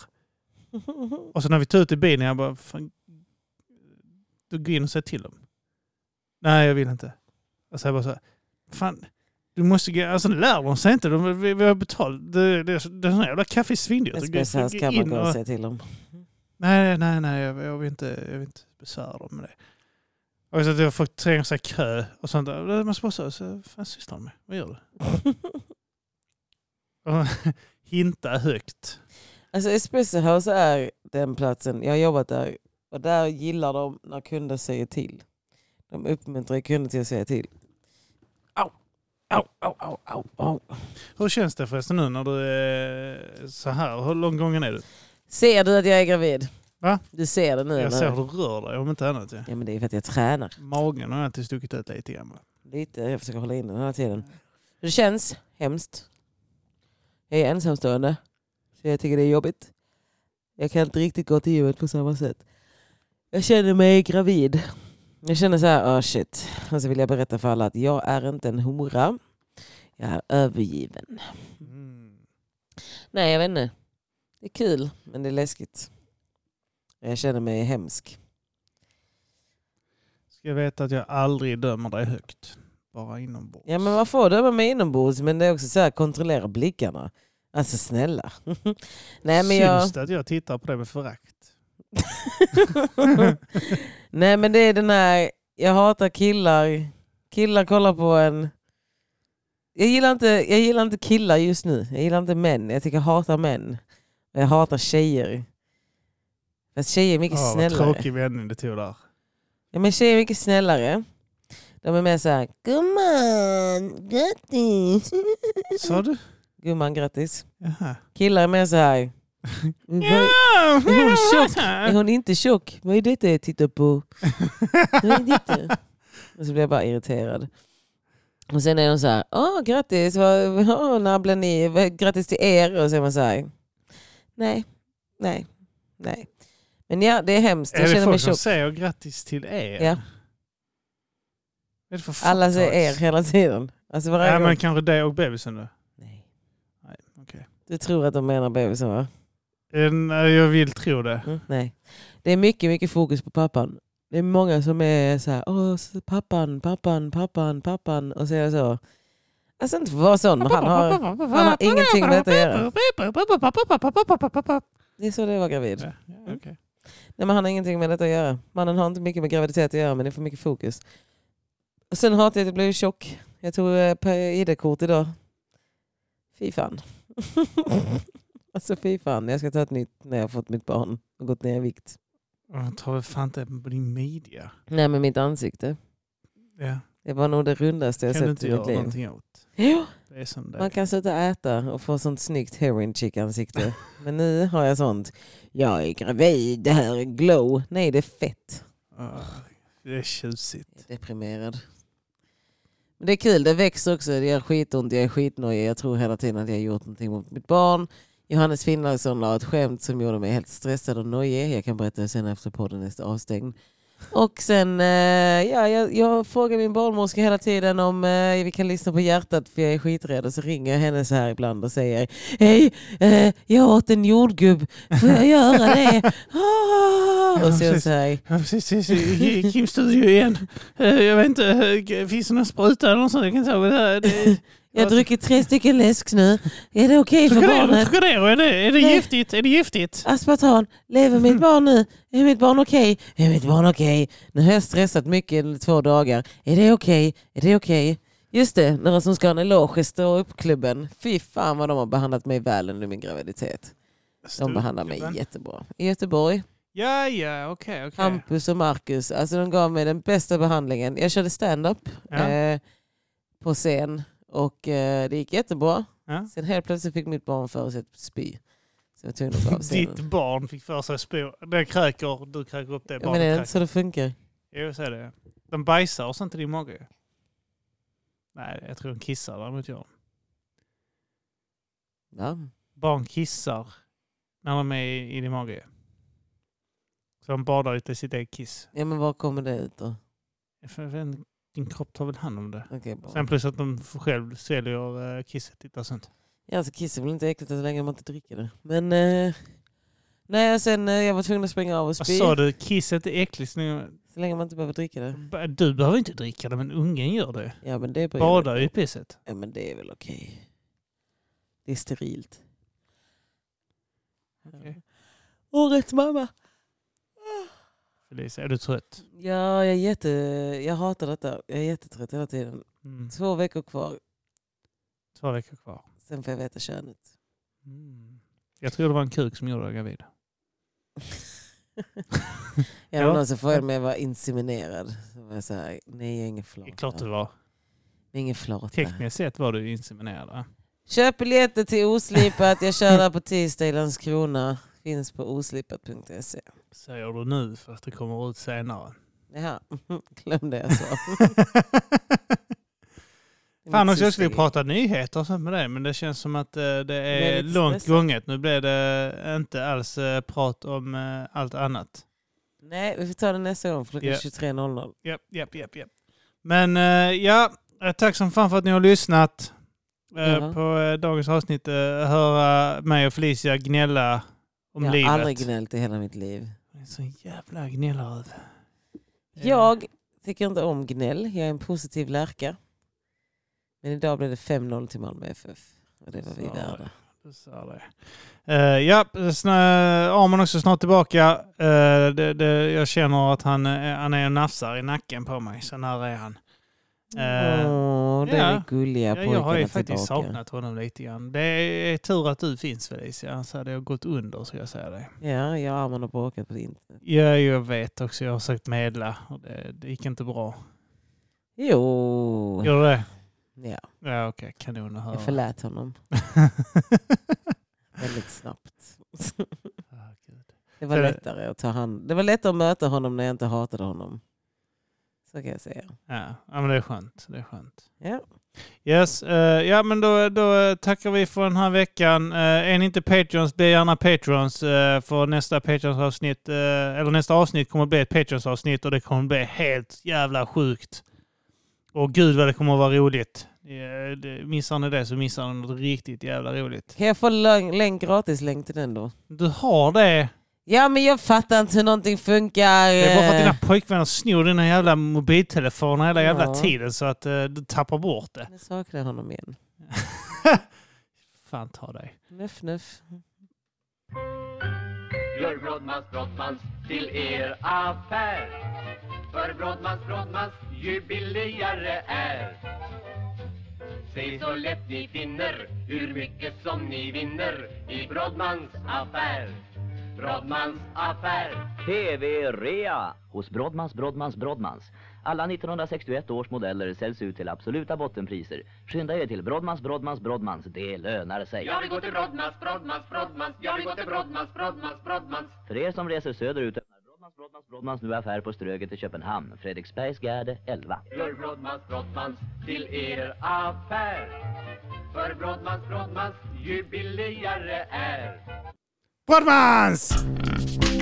S2: Och så när vi tog ut i bilen, jag bara, fan, du går in och säger till dem. Nej, jag vill inte. Och så jag bara så här, fan, du måste gå, alltså lär de sig inte, de, vi, vi har betalt, det, det, är så- det är sån här jävla kaffe är svindyrt. Du
S1: Espresso
S2: går-
S1: house
S2: går
S1: kan
S2: in
S1: man gå
S2: och-
S1: och säga till om.
S2: Nej, nej, nej, jag, jag, vill, inte, jag vill inte besvära dem med det. Och så att jag har fått tränga sig i kö och sånt där. Det måste bara så, så fan sysslar de med? Vad gör du? Och Hinta högt.
S1: Alltså Espresso House är den platsen, jag har jobbat där och där gillar de när kunder säger till. De uppmuntrar kunder till att säga till. Au, au, au, au, au, au.
S2: Hur känns det förresten nu när du är så här? Hur lång gången är du?
S1: Ser du att jag är gravid?
S2: Va?
S1: Du ser det nu
S2: Jag
S1: eller?
S2: ser hur du rör dig om inte annat. Ja.
S1: Ja men det är för att jag tränar.
S2: Magen har alltid stuckit ut lite grann. va?
S1: Lite, jag försöker hålla in den hela tiden. Det känns hemskt. Jag är ensamstående. Så jag tycker det är jobbigt. Jag kan inte riktigt gå till gymmet på samma sätt. Jag känner mig gravid. Jag känner så här, oh shit. Och så vill jag berätta för alla att jag är inte en hora. Jag är övergiven.
S2: Mm.
S1: Nej, jag vet inte. Det är kul, men det är läskigt. Jag känner mig hemsk.
S2: Ska jag veta att jag aldrig dömer dig högt. Bara inombords.
S1: Ja men man får döma mig inombords men det är också så här, kontrollera blickarna. Alltså snälla. Nej men
S2: Syns
S1: jag...
S2: det att jag tittar på dig med förakt?
S1: Nej men det är den här, jag hatar killar. Killar kollar på en... Jag gillar, inte, jag gillar inte killar just nu. Jag gillar inte män. Jag tycker jag hatar män. Och jag hatar tjejer. Fast tjejer är mycket
S2: Ah, vad
S1: snällare.
S2: tråkig vändning det tog där.
S1: Ja, men tjejer är mycket snällare. De är mer såhär, gumman, grattis.
S2: Sa du?
S1: Gumman, grattis.
S2: Jaha.
S1: Killar är mer såhär, "Vad- är hon tjock? Är hon inte tjock? Vad är detta jag tittar på? Vad är detta? Och så blir jag bara irriterad. Och sen är de så här, åh grattis, vad, åh, när blir ni, vad- grattis till er. Och så är man så här, nej, nej, nej. Men ja, det är hemskt. Jag
S2: Är det
S1: känner mig
S2: folk som
S1: tjock.
S2: säger grattis till er?
S1: Ja.
S2: Är det för fuck
S1: Alla säger er
S2: talks?
S1: hela tiden. Alltså varje
S2: Ja,
S1: gång.
S2: men kanske dig och bebisen då?
S1: Nej.
S2: Nej, okej.
S1: Du tror att de menar bebisen va?
S2: Eh, nej, Jag vill tro det.
S1: Mm, nej. Det är mycket, mycket fokus på pappan. Det är många som är så här, Åh, s- pappan, pappan, pappan, pappan. Och så är jag så. Alltså inte för att vara sån, men han har, han har ingenting med detta att göra. Det är så det var gravid.
S2: Ja, ja, okej.
S1: Nej, men han har ingenting med detta att göra. Mannen har inte mycket med graviditet att göra, men det är för mycket fokus. Och sen hatar jag att jag blev tjock. Jag tog eh, på ID-kort idag. Fy fan. alltså fy fan, jag ska ta ett nytt när jag har fått mitt barn och gått ner i vikt.
S2: Jag tar väl fan inte på din media.
S1: Nej, men mitt ansikte.
S2: Ja.
S1: Det var nog det rundaste jag
S2: Kan du
S1: sett
S2: inte
S1: i
S2: göra
S1: mitt liv.
S2: någonting åt?
S1: Jo,
S2: Det är som det
S1: man
S2: är.
S1: kan sluta äta och få sånt snyggt heroin chick ansikte. Men nu har jag sånt. Jag är gravid, det här är glow. Nej, det är fett.
S2: Ah, Det är tjusigt.
S1: Jag är deprimerad. Men det är kul, det växer också. Det gör skitont, jag är skitnojig. Jag tror hela tiden att jag har gjort någonting mot mitt barn. Johannes Finnlagsson la ett skämt som gjorde mig helt stressad och nojig. Jag kan berätta det sen efter podden är avstängd. Och sen, eh, ja, jag, jag frågar min barnmorska hela tiden om eh, vi kan lyssna på hjärtat för jag är skiträdd. Och så ringer jag henne så här ibland och säger Hej, eh, jag åt en jordgubb. Får jag göra det? Ah! Och så, är jag så här,
S2: Ja, precis, precis. I Kims studio igen. Eh, Jag vet inte, eh, finns det någon spruta eller något sånt jag kan ta? Men det här, det-
S1: jag har druckit tre stycken läsk nu. Är det okej för barnet?
S2: Trycker ner, är det, är det
S1: Nej.
S2: giftigt? Är det giftigt?
S1: Aspartan, lever mitt barn nu? Är mitt barn okej? Är mitt barn okej? Nu har jag stressat mycket i två dagar. Är det okej? Är det okej? Just det, några som ska ha en eloge står upp klubben. Fy fan vad de har behandlat mig väl under min graviditet. De behandlar mig jättebra. I Göteborg,
S2: Ja, ja, okej, okej.
S1: Hampus och Marcus, alltså de gav mig den bästa behandlingen. Jag körde stand-up
S2: Ja.
S1: eh, på scen och eh, det gick jättebra.
S2: Ja.
S1: Sen helt plötsligt fick mitt barn för sig att spy. Så jag var tvungen att gå av
S2: Ditt
S1: scenen.
S2: barn fick för sig spår. Den kräker, du kräker upp det
S1: Jag menar, är det
S2: barnet. kräker.
S1: inte så det funkar?
S2: Jo, så är det. De bajsar och sånt i din mage. ju. Nej, jag tror de kissar däremot gör de.
S1: Ja.
S2: Barn kissar när de är i i din mage. ju. Så de badar ut i sitt eget kiss.
S1: ja, men var kommer det ut då?
S2: Jag vet inte, Din kropp tar väl hand om det.
S1: Okej, bra.
S2: Sen plus att de själv sväljer eh, kisset och sånt.
S1: Ja, alltså kiss är väl inte äckligt så länge man inte dricker det. Men... Eh, nej, sen eh, jag var tvungen att springa av och
S2: Vad
S1: spy.
S2: sa du? Kisset är äckligt. Nu-
S1: Så länge man inte behöver dricka det.
S2: ba- Du behöver inte dricka det, men ungen gör det.
S1: Ja, men det bryr jag mig
S2: Badar ju i pisset.
S1: Ja men det är väl okej. Det är sterilt.
S2: Okej.
S1: Årets mamma. Ah.
S2: Felicia, är du trött?
S1: Ja, jag, är jätte, jag hatar detta. Jag är jättetrött hela tiden.
S2: Mm.
S1: Två veckor kvar,
S2: Två veckor kvar.
S1: sen får jag veta könet.
S2: Mm. Jag tror det var en kuk som gjorde dig gravid.
S1: ja, men
S2: Ja.
S1: någon som frågade mig om jag var inseminerad. Så var jag så här, nej jag är ingen flata.
S2: Det är klart du var.
S1: Jag är ingen flata.
S2: Tekniskt sett var du inseminerad. va?
S1: Köp biljetter till Oslipat. Jag kör där på tisdag i Landskrona. Finns på oslipat.se.
S2: Säger du nu fast det kommer ut senare.
S1: Jaha, glömde jag så.
S2: Fan också, jag skulle prata nyheter och sånt med dig men det känns som att eh,
S1: är
S2: det är
S1: lite
S2: långt
S1: stressad.
S2: gånget. Nu blev det inte alls eh, prat om eh, allt annat.
S1: Nej, vi får ta det nästa gång för klockan
S2: Ja.
S1: 23.00.
S2: Japp, japp, japp, japp. Men eh, ja, eh, tack som fan för att ni har lyssnat eh,
S1: Ja.
S2: på eh, dagens avsnitt. eh, höra mig och Felicia gnälla om
S1: jag har
S2: livet.
S1: aldrig gnällt i hela mitt liv.
S2: Jag är så jävla gnällaröv. Eh.
S1: Jag tycker inte om gnäll. Jag är en positiv lärka. Men idag blev det 5-0 till Malmö FF. Och det var vi
S2: Så.
S1: värda.
S2: Du sa det. Eh, ja, snö, Arman också snart tillbaka. Eh, det, det, jag känner att han, eh, han är och nafsar i nacken på mig. Så nära är han. Eh,
S1: Åh, det
S2: ja.
S1: är gulliga
S2: ja, jag har ju
S1: pojkarna
S2: faktiskt
S1: tillbaka.
S2: saknat honom lite grann. Det är tur att du finns Felicia, annars hade jag gått under så jag säger det.
S1: Ja, jag och Arman har bråkat på internet.
S2: Ja, jag vet också. Jag har försökt medla och det, det gick inte bra.
S1: Jo,
S2: Gjorde det?
S1: ja,
S2: Ja, okej. Kanon att höra.
S1: jag förlät honom väldigt snabbt.
S2: Ah, gud.
S1: Det var
S2: Så det-
S1: lättare att ta hand. Det var lättare att möta honom när jag inte hatade honom. Så kan jag säga.
S2: ja, ja, men det är skönt. Det är skönt.
S1: Ja.
S2: Yes, eh, ja men då, då eh, tackar vi för den här veckan. Eh, är ni inte Patreons, bli gärna Patreons eh, för nästa Patreons-avsnitt, eh, eller nästa avsnitt kommer att bli ett Patreons-avsnitt och det kommer att bli helt jävla sjukt. Och gud vad det kommer att vara roligt. Eh, det- Missar ni det så missar ni något riktigt jävla roligt.
S1: Kan jag få lön- länk, gratis länk till den då?
S2: Du har det!
S1: Ja men jag fattar inte hur någonting funkar.
S2: Det är bara för att dina pojkvänner snor dina jävla mobiltelefoner hela jävla
S1: Eh. Ja.
S2: tiden så att eh, du tappar bort det.
S1: Nu saknar jag honom igen.
S2: Fan ta dig.
S1: Nuff nuff.
S3: Gör Brodmans Brottmans till er affär För Brodmans Brottmans ju billigare är Säg så lätt ni finner hur mycket som ni vinner i Brodmans affär Brodmans affär
S4: TV-rea hos Brodmans, Brodmans, Brodmans. Alla 1961 års modeller säljs ut till absoluta bottenpriser. Skynda er till Brodmans, Brodmans, Brodmans. Det lönar sig.
S3: Jag vill gå till Brodmans, Brodmans, Brodmans Jag vill gå till Brodmans, Brodmans, Brodmans
S4: För er som reser söderut öppnar Brodmans, Brodmans, Brodmans nu affär på Ströget i Köpenhamn. Fredriksbergsgärde 11.
S3: Gör Brodmans, Brodmans till er affär För Brodmans, Brodmans ju billigare är
S2: Brodmans!